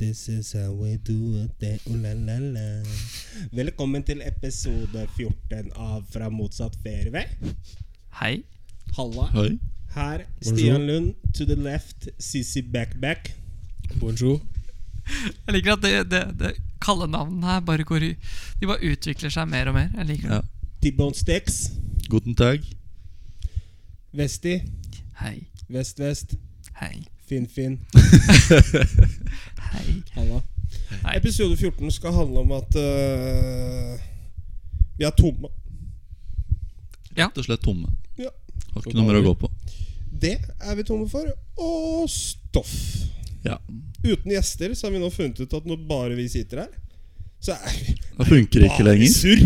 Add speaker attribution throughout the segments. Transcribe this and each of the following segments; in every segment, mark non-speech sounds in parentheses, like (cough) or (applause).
Speaker 1: is how we do it, eh, oh la la la. Velkommen til episode 14 av Fra motsatt ferievei.
Speaker 2: Hei.
Speaker 1: Halla.
Speaker 3: Hei.
Speaker 1: Her, Stian Lund. To the left, Sissy Backback.
Speaker 3: Bonjour.
Speaker 2: Jeg liker at det, det, det kallenavnene her bare går i De bare utvikler seg mer og mer. Jeg liker det.
Speaker 3: Ja.
Speaker 1: T-Bone Sticks.
Speaker 3: Guten tag.
Speaker 1: Vesti.
Speaker 2: Hei,
Speaker 1: Vest-Vest.
Speaker 2: hei,
Speaker 1: Finn-Finn.
Speaker 2: hei.
Speaker 1: Halla.
Speaker 2: Hei.
Speaker 1: Episode 14 skal handle om at øh, vi er tomme.
Speaker 3: Rett og slett tomme.
Speaker 1: Ja.
Speaker 3: Har ikke noe mer å gå på.
Speaker 1: Det er vi tomme for. Og stoff.
Speaker 3: Ja.
Speaker 1: Uten gjester så har vi nå funnet ut at når bare vi sitter her, så er vi
Speaker 3: Det funker ikke
Speaker 1: bare
Speaker 3: lenger.
Speaker 1: surr.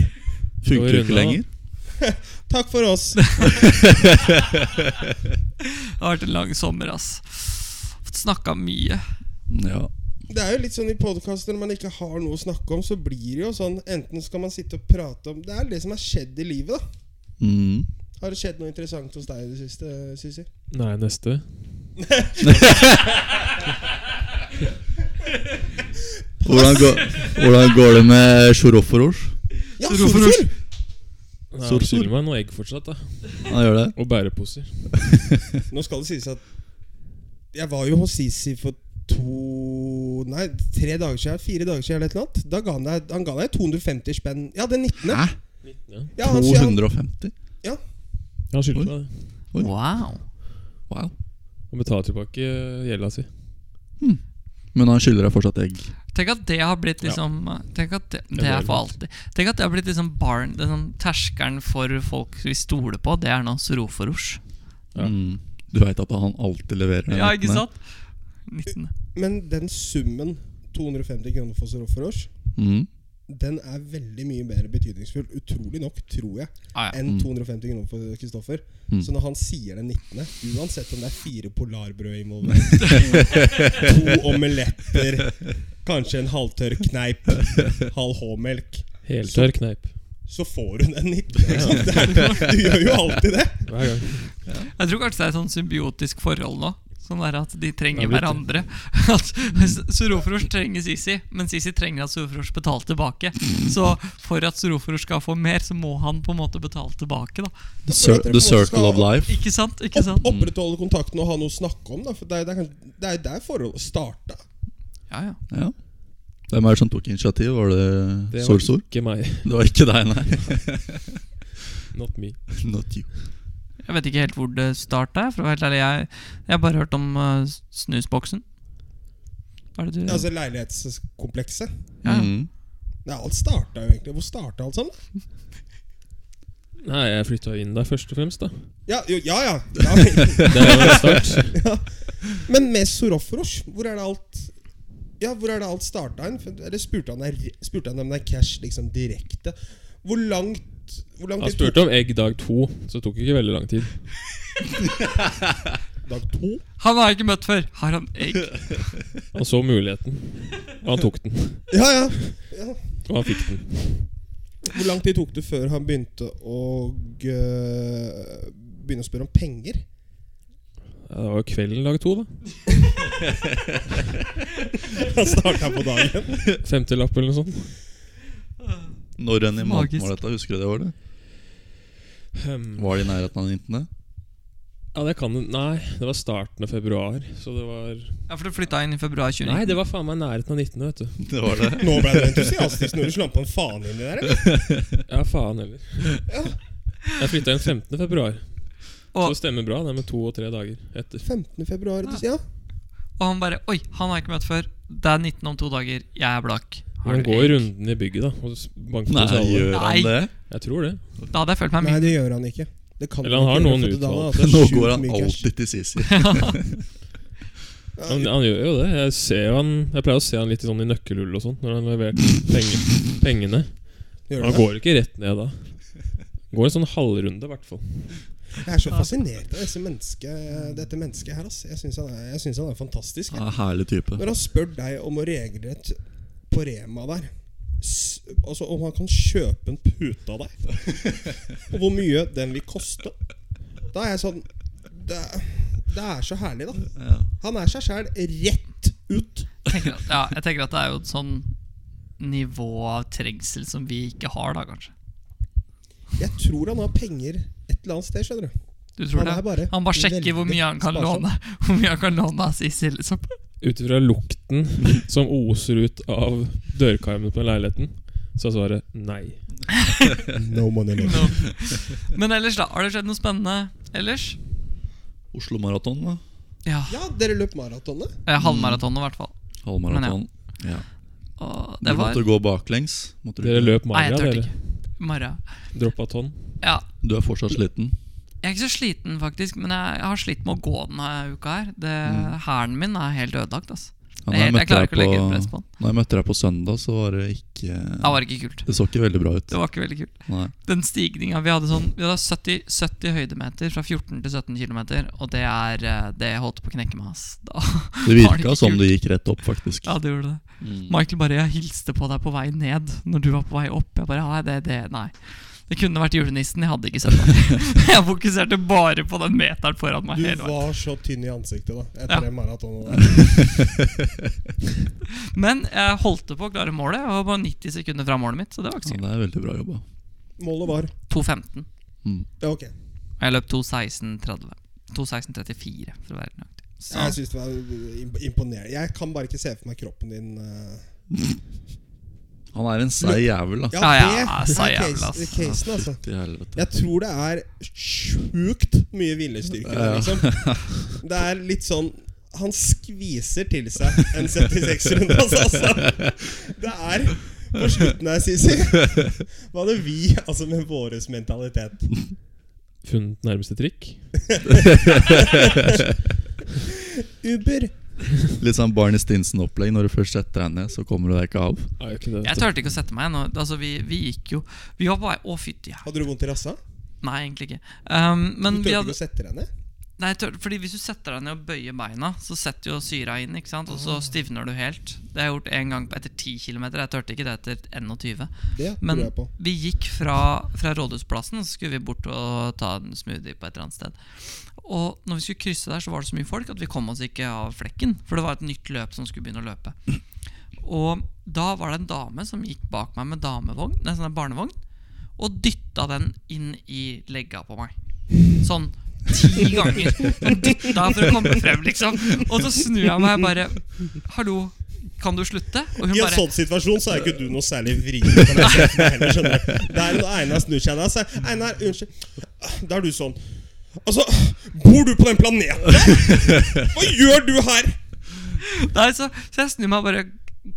Speaker 3: Funker
Speaker 4: Skal vi runde
Speaker 3: ikke lenger.
Speaker 1: Takk for oss.
Speaker 2: Det har vært en lang sommer, ass. Fått snakka mye.
Speaker 3: Ja.
Speaker 1: Det er jo litt sånn i podkaster når man ikke har noe å snakke om, så blir det jo sånn Enten skal man sitte og prate om Det er det som har skjedd i livet, da.
Speaker 3: Mm.
Speaker 1: Har det skjedd noe interessant hos deg i det siste, Sissy?
Speaker 4: Nei, neste.
Speaker 3: Hvordan, går, hvordan går det med sjoroforors?
Speaker 1: Ja,
Speaker 2: Så hvorfor-
Speaker 1: Solfjord!
Speaker 4: Nei,
Speaker 3: Sol-
Speaker 4: Han skylder meg noe egg fortsatt, da.
Speaker 3: Han gjør det?
Speaker 4: Og bæreposer.
Speaker 1: Nå skal det sies at jeg var jo hos Sissy for to Nei, tre dager siden. Fire dager siden eller et eller annet. Da ga han deg, han ga deg 250 spenn. Ja, den 19.
Speaker 3: Hæ?
Speaker 4: Ja.
Speaker 1: Ja, han sier han-
Speaker 3: 250?
Speaker 4: Han
Speaker 3: Oi.
Speaker 4: skylder meg det.
Speaker 3: Oi.
Speaker 2: Wow.
Speaker 3: Wow.
Speaker 4: Han betaler tilbake eh, gjelda si.
Speaker 3: Men han skylder deg fortsatt egg.
Speaker 2: Tenk at det har blitt liksom Tenk at det, det er for alltid. Tenk at det har blitt liksom barn Det er sånn terskelen for folk vi stoler på, det er nå Soroforosh.
Speaker 4: Ja.
Speaker 3: Mm. Du veit at han alltid leverer? den
Speaker 2: Ja, ikke
Speaker 3: retten der.
Speaker 2: sant? 19.
Speaker 1: Men den summen, 250 kroner for Sorofferås,
Speaker 3: Mm.
Speaker 1: den er veldig mye mer betydningsfull, utrolig nok, tror jeg,
Speaker 2: Ah, ja.
Speaker 1: enn
Speaker 3: Mm.
Speaker 1: 250 kroner for Kristoffer.
Speaker 3: Mm.
Speaker 1: Så når han sier den 19., uansett om det er fire polarbrød
Speaker 3: (laughs)
Speaker 1: involvert, to, to omeletter, kanskje en halvtørr kneip, halv H-melk,
Speaker 4: Heltørr kneip.
Speaker 1: så får hun den 19. Ikke sant? Det er, du gjør jo alltid det.
Speaker 4: Hver gang.
Speaker 2: Jeg tror kanskje det er et sånn symbiotisk forhold nå. Sånn der at de trenger
Speaker 4: Det er blitt
Speaker 2: hverandre. (laughs) At Sorofrosh trenger Sisi, men Sisi trenger at Sorofrosh betaler tilbake. Så for at Sorofrosh skal få mer, så må han på en måte betale tilbake, da.
Speaker 3: The, cir the circle of life.
Speaker 2: Ikke sant? Ikke
Speaker 1: Opp,
Speaker 2: sant?
Speaker 1: opprettholde kontakten og ha noe å snakke om. Da, for det er det er kanskje- det er der forholdet starta.
Speaker 2: Ja, ja.
Speaker 3: Ja. Hvem er det som tok initiativ? Var det
Speaker 4: Det var
Speaker 3: Sorsor?
Speaker 4: ikke meg.
Speaker 3: Det var ikke deg, nei. (laughs)
Speaker 4: Not me.
Speaker 3: Not you.
Speaker 2: Jeg vet ikke helt hvor det starta. For å være helt ærlig, jeg, jeg har bare hørt om eh, snusboksen. Hva er det du
Speaker 1: Altså leilighetskomplekset.
Speaker 2: Ja.
Speaker 3: Mm.
Speaker 1: Nei, alt starta jo egentlig. Hvor starta alt sammen? da?
Speaker 4: Nei, jeg flytta inn der først og fremst, da.
Speaker 1: Ja, jo, ja, ja.
Speaker 2: (laughs)
Speaker 1: ja.
Speaker 4: (laughs) Det er jo en start.
Speaker 1: Men med Sorofrosh, hvor er det alt Ja, hvor er det alt starta hen? For- Eller spurte han deg Spurte han om det er cash liksom direkte? Hvor langt Hvor langt
Speaker 4: Han spurte om egg dag to, så det tok ikke veldig lang tid.
Speaker 1: dag to?
Speaker 2: Han har jeg ikke møtt før! Har han egg?
Speaker 4: Han så muligheten, og han tok den.
Speaker 1: Ja, ja, ja.
Speaker 4: Og han fikk den.
Speaker 1: Hvor lang tid tok det før han begynte å øh, Begynne å spørre om penger?
Speaker 4: Ja, Det var jo kvelden dag to, da.
Speaker 1: Han starta på dagen.
Speaker 4: Femtelapp eller noe sånt.
Speaker 3: Når enn i måneden
Speaker 2: Magisk.
Speaker 3: var dette? Husker du det var det?
Speaker 4: Ehm,
Speaker 3: Var det i nærheten av den 19.?
Speaker 4: Ja, det kan du Nei, det var starten av februar, så det var
Speaker 2: Ja, for du flytta inn i februar 29.
Speaker 4: Nei, det var faen meg nærheten av 19, vet du.
Speaker 3: Det var det.
Speaker 1: (laughs) Nå ble du entusiastisk når du slampa en faen inn i det der. eller?
Speaker 4: Ja, faen heller. Jeg flytta inn 15. februar. Så
Speaker 2: Og-
Speaker 4: det stemmer bra, det er med to og tre dager etter.
Speaker 1: 15. februar. du- Ja.
Speaker 2: Og han bare Oi, han har jeg ikke møtt før. Det er 19 om to dager. Jeg er blakk. Har
Speaker 4: Han
Speaker 2: du
Speaker 4: går
Speaker 2: egg?
Speaker 4: runden i bygget, da. Og s- banker
Speaker 3: Nei,
Speaker 4: hos alle.
Speaker 2: (laughs)
Speaker 3: gjør
Speaker 2: Nei.
Speaker 3: han det?
Speaker 4: Jeg tror det.
Speaker 2: Da hadde jeg følt meg
Speaker 1: Nei,
Speaker 2: mye
Speaker 1: det gjør han ikke. Det kan
Speaker 4: Eller han har
Speaker 1: ikke
Speaker 4: noen
Speaker 1: gjøre, for da hadde
Speaker 4: utvalgte.
Speaker 1: hatt
Speaker 3: Nå
Speaker 1: sjukt
Speaker 3: går han
Speaker 1: mye cash.
Speaker 3: alltid til Sisi.
Speaker 1: Ja,
Speaker 4: Han, han gjør jo det. Jeg ser jo han Jeg pleier å se han litt i sånn i nøkkelhull og sånn når han har levert penge, pengene.
Speaker 1: gjør
Speaker 4: Han
Speaker 1: det.
Speaker 4: går ikke rett ned da. Går en sånn halvrunde, i hvert fall.
Speaker 1: Jeg er så fascinert av disse menneske, dette mennesket her. Ass. Jeg syns han, er- jeg synes han er fantastisk. jeg.
Speaker 3: Ja, herlig type.
Speaker 1: Når han spør deg om å regelrett på Rema der s- Altså om han kan kjøpe en pute av deg,
Speaker 2: (laughs)
Speaker 1: og hvor mye den vil koste, da er jeg sånn Det, det er så herlig, da.
Speaker 3: Ja.
Speaker 1: Han er seg sjæl rett ut.
Speaker 2: tenker at, ja, jeg tenker at det er jo et sånn nivå av trengsel som vi ikke har, da, kanskje.
Speaker 1: Jeg tror han har penger et eller annet sted, skjønner du.
Speaker 2: Du tror
Speaker 1: Han er
Speaker 2: det?
Speaker 1: bare
Speaker 2: Han bare sjekker hvor
Speaker 1: veldig
Speaker 2: mye han kan
Speaker 1: sparsom.
Speaker 2: låne Hvor mye han kan låne av Sissy, liksom.
Speaker 1: (laughs)
Speaker 4: Ut ifra lukten som oser ut av dørkarmen på den leiligheten, så er svaret nei.
Speaker 1: No money left.
Speaker 2: No. Men ellers, da? Har det skjedd noe spennende ellers?
Speaker 3: Oslo Maraton, da.
Speaker 2: Ja.
Speaker 1: Ja, dere løp maratonet?
Speaker 2: eh, Halvmaratonet, i hvert fall.
Speaker 3: Halvmaraton. Ja.
Speaker 2: Og
Speaker 3: Du
Speaker 2: det var
Speaker 3: måtte gå baklengs. Måtte du,
Speaker 4: Dere
Speaker 3: ikke?
Speaker 4: løp
Speaker 2: Nei, jeg
Speaker 4: magra,
Speaker 2: turte
Speaker 4: dere.
Speaker 2: ikke. Mara.
Speaker 4: Droppa tonn.
Speaker 2: Ja,
Speaker 3: du er fortsatt sliten.
Speaker 2: Jeg er ikke så sliten, faktisk, men jeg jeg har slitt med å gå denne uka her. Det,
Speaker 3: Mm.
Speaker 2: Hæren min er helt ødelagt. ass.
Speaker 3: Ja,
Speaker 2: Jeg- jeg klarer ikke å legge press på
Speaker 3: på,
Speaker 2: han.
Speaker 3: når jeg møtte deg på søndag, så var det ikke
Speaker 2: Det var ikke kult.
Speaker 3: Det så ikke veldig bra ut.
Speaker 2: Det var ikke veldig kult. (laughs)
Speaker 3: Nei.
Speaker 2: Den stigninga vi hadde sånn Vi hadde 70, 70 høydemeter fra 14 til 17 km, og det er eh, Det holdt på å knekke meg, ass. Da, (laughs) Var
Speaker 3: Det
Speaker 2: det
Speaker 3: virka
Speaker 2: ikke
Speaker 3: som
Speaker 2: kult?
Speaker 3: du gikk rett opp, faktisk.
Speaker 2: ja, det gjorde det.
Speaker 3: Mm.
Speaker 2: Michael bare Jeg hilste på deg på vei ned når du var på vei opp. Jeg bare Nei, det, det Nei. Det kunne vært julenissen. Jeg hadde ikke sett deg. Jeg fokuserte bare på den meteren foran meg.
Speaker 1: Du
Speaker 2: hele veien.
Speaker 1: var så tynn i ansiktet da
Speaker 2: Ja.
Speaker 1: etter det maratonet. der.
Speaker 2: Men jeg holdt på å klare målet. Jeg var bare 90 sekunder fra målet mitt, så det var ikke så
Speaker 3: Ja,
Speaker 2: gøy.
Speaker 3: det er veldig bra jobba.
Speaker 1: (laughs) Målet var
Speaker 2: 2.15.
Speaker 3: Mm.
Speaker 1: ja, Ok,
Speaker 2: Og jeg løp 2.16,30. 2.16,34, for å være nøyaktig. Så
Speaker 1: jeg syns det var imp- imponerende. Jeg kan bare ikke se for meg kroppen din eh.
Speaker 3: Han er en seig jævel, da.
Speaker 2: Ja, ja,
Speaker 1: det
Speaker 2: sa
Speaker 1: er
Speaker 2: jævla,
Speaker 1: case-
Speaker 2: ass.
Speaker 1: casen, altså.
Speaker 3: Fytti helvete.
Speaker 1: Jeg tror det er sjukt mye viljestyrke der,
Speaker 3: Ja.
Speaker 1: liksom. Det er litt sånn Han skviser til seg en 76-runde, altså, altså. Det er på slutten her, Sisi. Hva hadde vi, altså med vår mentalitet
Speaker 4: Funnet nærmeste trikk.
Speaker 1: Uber!
Speaker 3: (laughs) Litt sånn Barney Stinson-opplegg. Når du først setter deg ned, så kommer du deg ikke av.
Speaker 4: Nei, jeg kunne
Speaker 2: jeg turte ikke å sette meg. Nå. Altså, vi, vi gikk jo Vi var på vei Å, fytti ja.
Speaker 1: Hadde du vondt i rassa?
Speaker 2: Nei, egentlig ikke. Um, men
Speaker 1: Du
Speaker 2: vi
Speaker 1: turte
Speaker 2: hadde
Speaker 1: ikke å sette deg ned?
Speaker 2: Nei, jeg tør, fordi hvis du setter deg ned og bøyer beina, så setter jo syra inn, ikke sant? og så
Speaker 1: Ah.
Speaker 2: stivner du helt. Det har jeg gjort én gang på- etter 10 km. Jeg turte ikke det etter 21.
Speaker 1: Det
Speaker 2: Men
Speaker 1: tror jeg på.
Speaker 2: vi gikk fra, fra Rådhusplassen, så skulle vi bort og ta en smoothie på et eller annet sted. Og når vi skulle krysse der, så var det så mye folk at vi kom oss ikke av flekken. For det var et nytt løp som skulle begynne å løpe. Og da var det en dame som gikk bak meg med damevogn, nei, sånn en barnevogn, og dytta den inn i legga på meg. Sånn ti ganger. Hun dytta for å komme frem, liksom. Og så snur jeg meg og bare Hallo, kan du slutte? Og hun
Speaker 1: I en
Speaker 2: bare
Speaker 1: sånn situasjon så er ikke du noe særlig vrien. på den setten heller, skjønner du. Det er når Einar snur seg der, så er Einar, unnskyld. Da er du sånn Altså, bor du på den planeten? her? Hva gjør du her?
Speaker 2: Nei, så, så jeg snur meg og bare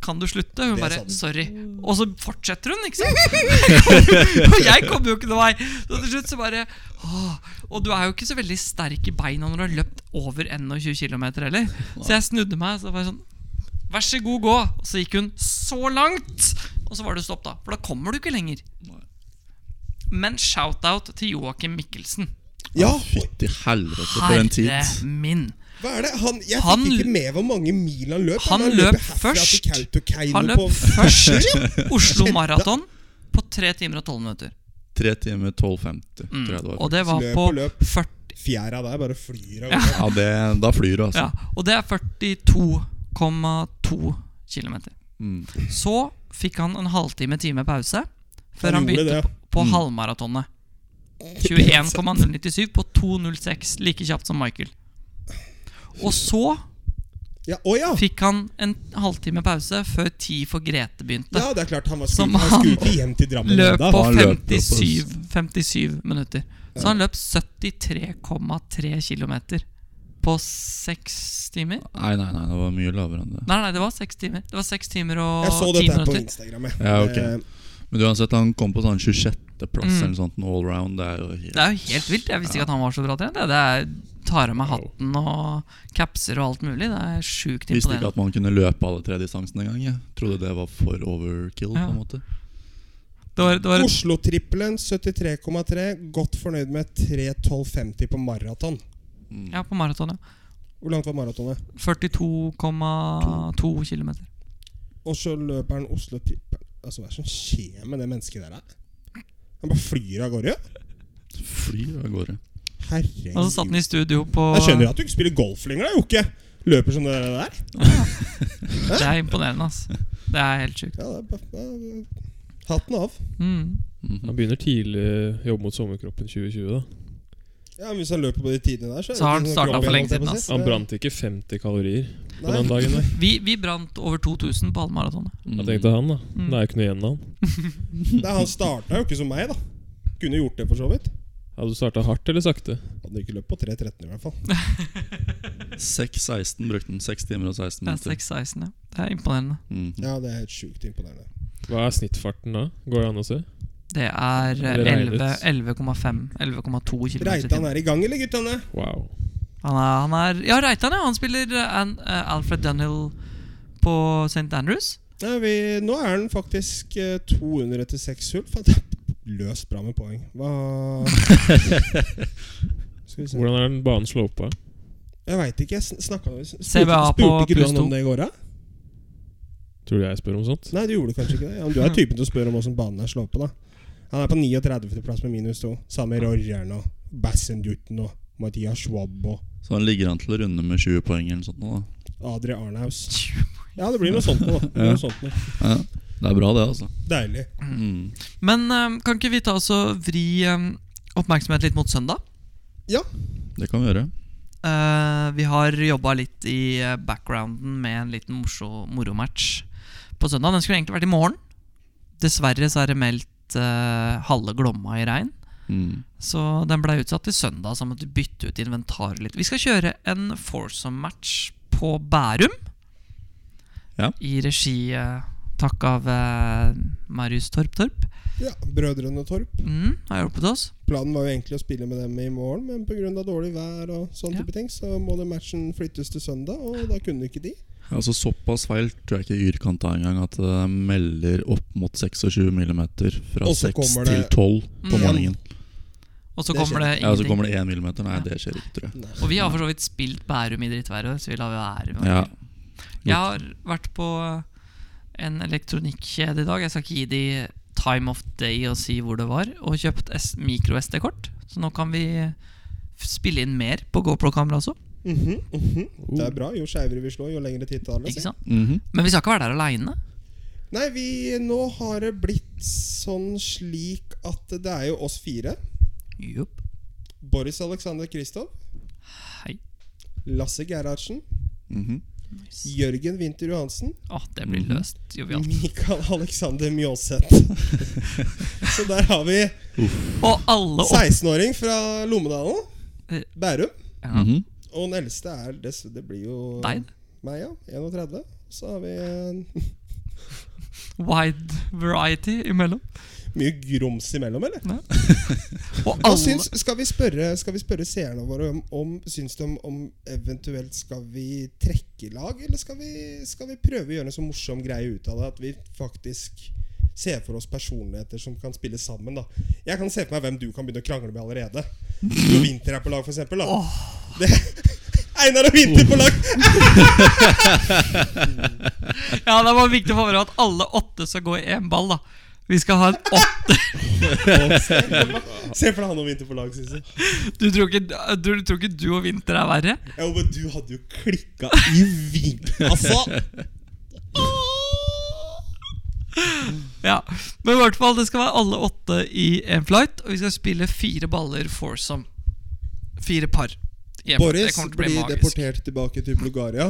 Speaker 2: Kan du slutte? Hun
Speaker 1: Det
Speaker 2: bare
Speaker 1: sa du.
Speaker 2: Sorry. Og så fortsetter hun, ikke sant? Og jeg kommer jo ikke noen vei. Så til slutt så bare åh. Og du er jo ikke så veldig sterk i beina når du har løpt over 21 km heller. Så jeg snudde meg og så var jeg sånn Vær så god, gå. Og så gikk hun så langt. Og så var det stopp, da. For da kommer du ikke lenger. Men shout-out til Joakim Mikkelsen.
Speaker 1: Ja,
Speaker 3: Fytti helvete, for en tid.
Speaker 2: Herre min.
Speaker 1: hva er det? Han, jeg
Speaker 2: Han-
Speaker 1: fikk ikke med hvor mange mil han løp.
Speaker 2: Han
Speaker 1: løper
Speaker 2: løp
Speaker 1: herfra til
Speaker 2: først
Speaker 1: Kautokeino
Speaker 2: Han løp
Speaker 1: på- (laughs)
Speaker 2: først Oslo Maraton på 3 timer og 12 minutter.
Speaker 3: Tre timer 12.50, tror jeg det var.
Speaker 2: Mm. Og det var
Speaker 1: Løp
Speaker 2: på
Speaker 1: og løp.
Speaker 2: 40,
Speaker 1: Fjæra der bare flyr av
Speaker 2: Ja.
Speaker 1: gårde.
Speaker 3: Ja, det, da flyr du, altså.
Speaker 2: ja, Og det er 42,2 km.
Speaker 3: Mm.
Speaker 2: Så fikk han en halvtime time pause før
Speaker 1: Han
Speaker 2: han
Speaker 1: gjorde
Speaker 2: begynte
Speaker 1: det. Mm.
Speaker 2: på, på halvmaratonet. 21,097 på 2.06, like kjapt som Michael. Og så
Speaker 1: Ja, å ja.
Speaker 2: fikk han en halvtime pause før Ti for Grete begynte.
Speaker 1: ja! Det er klart, han, var
Speaker 2: Som
Speaker 1: skulle, han skulle
Speaker 2: han
Speaker 1: ikke hjem til Drammen
Speaker 2: Løp
Speaker 1: enda.
Speaker 2: på
Speaker 3: Han løp jo på
Speaker 2: 57, 57 minutter. Så han løp 73,3 km på seks timer.
Speaker 3: Nei, nei, nei, det var mye lavere enn det.
Speaker 2: Nei, nei, det var seks timer. Det var seks timer og
Speaker 1: Jeg så
Speaker 2: ti
Speaker 1: dette her på
Speaker 2: minutter.
Speaker 1: Instagram. jeg.
Speaker 3: Ja, ok.
Speaker 1: Eh,
Speaker 3: Men uansett, han kom på sånn 26.-plass
Speaker 2: Mm.
Speaker 3: eller noe sånt, all round. Det er jo helt
Speaker 2: Det er jo helt vilt. Jeg visste ikke at han var så bra trent. Det er tar av meg hatten og capser og alt mulig. Det er sjukt
Speaker 3: Visste ikke
Speaker 2: imponerende.
Speaker 3: at man kunne løpe alle tre distansene engang. Jeg trodde det var for overkill.
Speaker 2: Ja.
Speaker 3: på en måte
Speaker 2: Det var, det var et,
Speaker 1: Oslo-trippelen 73,3. Godt fornøyd med 3.12,50 på maraton.
Speaker 3: mm.
Speaker 2: ja, på maraton, ja.
Speaker 1: Hvor langt var maratonet?
Speaker 2: 42,2 km.
Speaker 1: Og så løper han Oslo-trippelen Altså, Hva er det som skjer med det mennesket der? da? Han bare flyr av gårde.
Speaker 3: Flyr av gårde.
Speaker 1: Herregud.
Speaker 2: Og så satt han i studio på
Speaker 1: Jeg skjønner at du ikke spiller golf lenger, da, Jokke. løper som det der.
Speaker 2: Det er imponerende, ass. Det er helt sjukt.
Speaker 1: Ja, det er, bare- ja, hatten av.
Speaker 2: Mm.
Speaker 3: Mhm.
Speaker 4: Han begynner tidlig å jobbe mot sommerkroppen 2020. da
Speaker 1: Ja, men Hvis han løper på de tidene der, så, er det
Speaker 2: Så har han
Speaker 1: ikke sånn
Speaker 2: startet
Speaker 1: kropp
Speaker 2: for
Speaker 1: igjen,
Speaker 2: lenge
Speaker 1: holdt jeg
Speaker 2: siden,
Speaker 1: på å
Speaker 2: ass.
Speaker 1: si.
Speaker 4: Han brant ikke 50 kalorier på
Speaker 1: Nei.
Speaker 4: den dagen. der
Speaker 2: Vi, vi brant over 2000 på halvmaratonet.
Speaker 4: Da tenkte han, da.
Speaker 2: Mm.
Speaker 4: Det er jo ikke noe igjen av han.
Speaker 1: Nei, Han starta jo ikke som meg, da. Kunne gjort det, for så vidt.
Speaker 4: Hadde du starta hardt eller sakte?
Speaker 1: Hadde ikke løpt på 3.13 i hvert
Speaker 4: Mm.
Speaker 1: fall.
Speaker 3: 6.16 brukte han. 6 timer og 16
Speaker 2: Det er
Speaker 3: minutter.
Speaker 2: 6-16, ja. Det er imponerende.
Speaker 3: Mhm.
Speaker 1: Ja, Det er helt sjukt imponerende.
Speaker 4: Hva er snittfarten da? Går det an å se?
Speaker 2: Det er eh,
Speaker 4: Det regnet.
Speaker 2: 11 11,5 11,2 km.
Speaker 1: Reitan er i gang, eller, guttene?
Speaker 4: Wow.
Speaker 2: Han er, han er Ja, Reitan, ja. Han spiller eh, An, eh, Alfred Dunhill på St. Andrews.
Speaker 1: Nei, vi, nå er den faktisk eh, 200 etter seks hull. Faen, det er løst bra med poeng. Hva Skal vi se
Speaker 4: Hvordan er den banen slåpa?
Speaker 1: Jeg veit ikke. Jeg sn- snakka spurte,
Speaker 2: CBA på
Speaker 1: spurte ikke du
Speaker 2: pluss
Speaker 1: han
Speaker 2: to.
Speaker 1: om det i går, da?
Speaker 4: Tror du jeg spør om sånt?
Speaker 1: Nei, du gjorde kanskje ikke det. Ja, men du
Speaker 2: (laughs)
Speaker 1: er typen til å spørre om åssen banen er slått på, da. Han er på 39. plass med minus to. Sammen med Rorjern og Bassenduten og Mathias Schwab og
Speaker 3: Så han ligger an til å runde med 20 poeng eller noe sånt. nå,
Speaker 1: Adri Arnhaus.
Speaker 2: (laughs)
Speaker 1: Ja, det blir noe sånt noe, da. Det blir noe sånt noe.
Speaker 3: Da. Ja. Det er bra, det, altså.
Speaker 1: Deilig.
Speaker 3: Mm.
Speaker 2: Men eh, kan ikke vi ta oss og vri eh, oppmerksomhet litt mot søndag?
Speaker 3: Det kan vi gjøre.
Speaker 2: Eh, vi har jobba litt i eh, backgrounden med en liten morso, moromatch på søndag. Den skulle egentlig vært i morgen. Dessverre så er det meldt eh, halve Glomma i regn.
Speaker 3: Mm.
Speaker 2: Så den blei utsatt til søndag, så måtte vi bytte ut inventaret litt. Vi skal kjøre en foursome-match på Bærum.
Speaker 3: Ja.
Speaker 2: I regi eh, takk av eh, Marius Torp Torp.
Speaker 1: Ja, Brødrene Torp.
Speaker 2: Mm, har hjulpet oss.
Speaker 1: Planen var jo egentlig å spille med dem i morgen, men pga. dårlig vær og sånn
Speaker 2: Ja.
Speaker 1: type ting, så må det matchen flyttes til søndag, og da kunne ikke de.
Speaker 3: Altså Såpass feil tror jeg ikke Yr kan ta engang. At det melder opp mot 26 millimeter fra
Speaker 1: Og så
Speaker 3: 6
Speaker 1: kommer
Speaker 3: til
Speaker 1: det
Speaker 3: 12 på
Speaker 2: Mm.
Speaker 3: morgenen.
Speaker 2: Og så
Speaker 1: Det skjer.
Speaker 2: kommer det
Speaker 3: Ja, så
Speaker 2: ingenting.
Speaker 3: kommer det 1 millimeter. Nei, det skjer ikke, tror jeg.
Speaker 1: Nei.
Speaker 2: Og vi har for så vidt spilt Bærum i drittvær i år, så vi lar det være.
Speaker 3: Ja.
Speaker 2: Jeg har vært på en elektronikkjede i dag. Jeg skal ikke gi de time of day og si hvor det var. Og kjøpt S mikro-SD-kort, så nå kan vi f- spille inn mer på GoPro-kamera også.
Speaker 1: Mhm, mhm. Det er bra. Jo skeivere vi slår, jo lengre tid tar det.
Speaker 2: Oh. Ikke sant?
Speaker 3: Mhm.
Speaker 2: Men vi skal ikke være der aleine.
Speaker 1: Nei, vi, nå har det blitt sånn slik at det er jo oss fire. Boris Alexander Kristov.
Speaker 2: Hei.
Speaker 1: Lasse Gerhardsen.
Speaker 3: Mhm.
Speaker 1: Jørgen Winther Johansen.
Speaker 2: Å, det blir
Speaker 3: Mhm.
Speaker 2: løst. Jovialt.
Speaker 1: Mikael Alexander Mjåseth. (laughs) Så der har vi
Speaker 2: Og alle opp...
Speaker 1: 16-åring fra Lommedalen.
Speaker 2: Eh.
Speaker 1: Bærum.
Speaker 2: Ja,
Speaker 3: Mhm.
Speaker 1: Og den eldste er det, det blir jo
Speaker 2: deg.
Speaker 1: meg, ja. 31. Så har vi eh, (laughs)
Speaker 2: Wide variety imellom.
Speaker 1: mye grums imellom, eller?
Speaker 2: Og
Speaker 1: Hva
Speaker 2: alle
Speaker 1: syns, skal, vi spørre, skal vi spørre seerne våre om, om Syns de om, om eventuelt skal vi trekke lag, eller skal vi, skal vi prøve å gjøre en så morsom greie ut av det at vi faktisk ser for oss personligheter som kan spille sammen? da Jeg kan se for meg hvem du kan begynne å krangle med allerede. Når Vinter er på lag, for eksempel. Da. Det, (laughs) Einar og Vinter på lag!
Speaker 2: Ja, det var viktig for meg at alle åtte skal gå i én ball, da. Vi skal ha en åtte
Speaker 1: Se for deg han og Vinter på lag, Sissel.
Speaker 2: Du tror ikke du, tror ikke du og Vinter er verre?
Speaker 1: Jo, men du hadde jo klikka i vink, altså!
Speaker 2: Ja, men i hvert fall Det skal være alle åtte i en flight Og vi skal spille fire baller foursome Fire par i en flight.
Speaker 1: Boris
Speaker 2: kommer til å bli
Speaker 1: blir
Speaker 2: magisk. (laughs)
Speaker 1: deportert tilbake til Bulgaria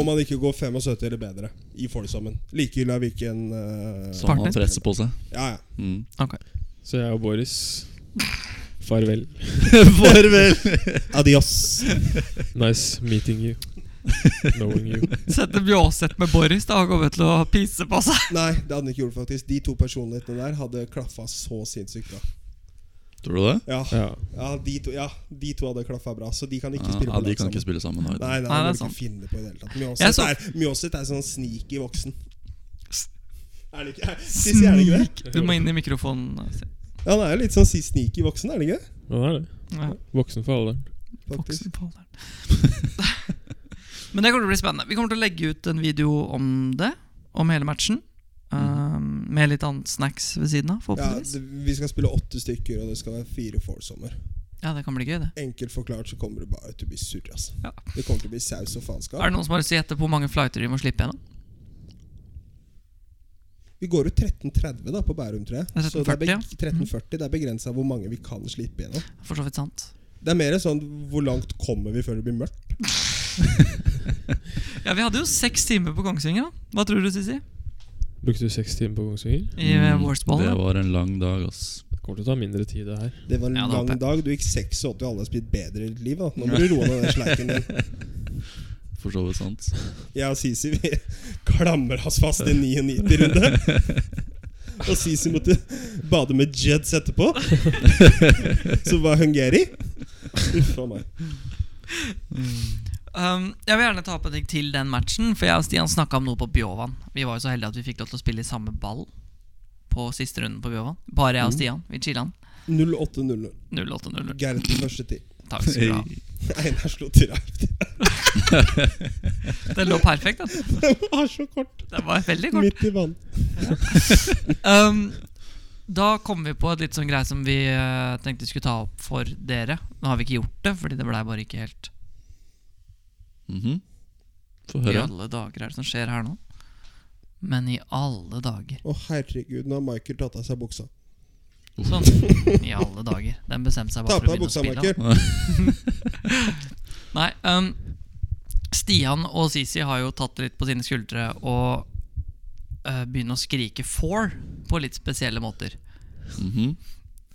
Speaker 1: om han ikke går 75 eller bedre i Folksommen. Likegyldig av hvilken eh,
Speaker 3: Som han
Speaker 2: Partner.
Speaker 3: presser på seg.
Speaker 1: Ja, ja. (laughs)
Speaker 3: Mm.
Speaker 2: Ok.
Speaker 4: Så jeg og Boris Farvel.
Speaker 3: Farvel!
Speaker 1: Adios.
Speaker 4: Nice meeting you. Knowing you.
Speaker 2: Sette Bjåseth med Boris Da kommer til å pise på seg
Speaker 1: Nei, det hadde han ikke gjort, faktisk. De to personlighetene der hadde klaffa så sinnssykt bra.
Speaker 3: Tror du det?
Speaker 1: Ja,
Speaker 4: Ja.
Speaker 1: ja, de, to, ja de to hadde klaffa bra, så de kan ikke
Speaker 3: Ja,
Speaker 1: spille på
Speaker 3: ja, de
Speaker 1: lag
Speaker 3: kan
Speaker 1: sammen.
Speaker 3: ikke spille sammen. Nei.
Speaker 1: Nei, nei,
Speaker 2: Nei,
Speaker 1: det
Speaker 2: det er
Speaker 1: kan
Speaker 2: sant.
Speaker 1: ikke finne på i det hele tatt.
Speaker 2: Jeg
Speaker 1: Mjåseth
Speaker 2: så-
Speaker 1: er, Mjåseth er sånn sneaky voksen. Er det ikke? Er, Sissy, er det ikke det?
Speaker 2: Du må inn i mikrofonen Sim.
Speaker 1: Ja, han er jo litt sånn si- sneaky voksen, er det ikke? det?
Speaker 4: Han er det.
Speaker 2: ja,
Speaker 4: Voksen for alderen.
Speaker 1: Faktisk.
Speaker 2: voksen på alderen. (laughs) Men det kommer til å bli spennende Vi kommer til å legge ut en video om det Om hele matchen Um, Med litt annet snacks ved siden av
Speaker 1: Mm. Ja,
Speaker 2: forhåpentligvis
Speaker 1: det, vi skal spille åtte stykker, og det skal være fire foursomer.
Speaker 2: Ja, det kan bli gøy, det.
Speaker 1: Enkelt forklart så kommer du bare til å bli surr. Altså.
Speaker 2: Ja.
Speaker 1: Det kommer til å bli saus og faenskap.
Speaker 2: Er det noen som har lyst til å gjette på hvor mange flighter de må slippe gjennom?
Speaker 1: Vi går ut 13.30 da på Bærum, tror jeg.
Speaker 2: Det er
Speaker 1: Så det er
Speaker 2: 13.40, ja. Mm.
Speaker 1: beg- 13.40 Det er begrensa hvor mange vi kan slippe gjennom.
Speaker 2: For så vidt sant.
Speaker 1: Det er mer sånn hvor langt kommer vi før det blir mørkt?
Speaker 2: Ja, Vi hadde jo seks timer på Kongsvinger. da Hva tror du, Sissi?
Speaker 4: Brukte du seks timer på Kongsvinger?
Speaker 2: I mm, Warsball?
Speaker 3: det var en lang dag, ass. (laughs)
Speaker 4: Det kommer til å ta mindre tid, det her.
Speaker 1: Det var en
Speaker 2: Ja, det
Speaker 1: lang
Speaker 2: håper jeg.
Speaker 1: dag. Du gikk 86, og alle har spilt bedre i ditt liv. Da. Nå må du roe ned den sleiken din.
Speaker 3: For så vidt sant.
Speaker 1: Jeg og Sisi vi klamrer oss fast i 99-runde. Og Sisi måtte bade med jets etterpå. Som var Hungary. Uff a meg.
Speaker 2: Um, jeg vil gjerne ta opp en ting til den matchen, for jeg og Stian snakka om noe på Bjovan. Vi var jo så heldige at vi fikk lov til å spille i samme ball på siste runden på Bjovan. Bare jeg og Stian. Vi chilla
Speaker 1: 08-00.
Speaker 2: 08-0.
Speaker 1: Gerd på første tid.
Speaker 2: Takk skal du ha.
Speaker 1: Einar slo til Raif.
Speaker 2: Den lå perfekt. da
Speaker 1: Den var så kort.
Speaker 2: Den var veldig kort.
Speaker 1: Midt i vann.
Speaker 2: Um, da kom vi på et litt sånn greie som vi eh, tenkte skulle ta opp for dere. Nå har vi ikke gjort det, fordi det blei bare ikke helt
Speaker 3: Mhm. Få
Speaker 2: I
Speaker 3: høre.
Speaker 2: alle dager er det som skjer her nå? Men i alle dager.
Speaker 1: Å herregud, nå har Michael tatt av seg buksa.
Speaker 2: Sånn. I alle dager. Den bestemte seg
Speaker 1: Ta
Speaker 2: bare
Speaker 1: på
Speaker 2: for å begynne
Speaker 1: deg
Speaker 2: å
Speaker 1: buksa,
Speaker 2: spille.
Speaker 1: Michael.
Speaker 2: Nei, ehm, Stian og Sisi har jo tatt det litt på sine skuldre og eh, begynne å skrike 'four' på litt spesielle måter.
Speaker 3: Mhm.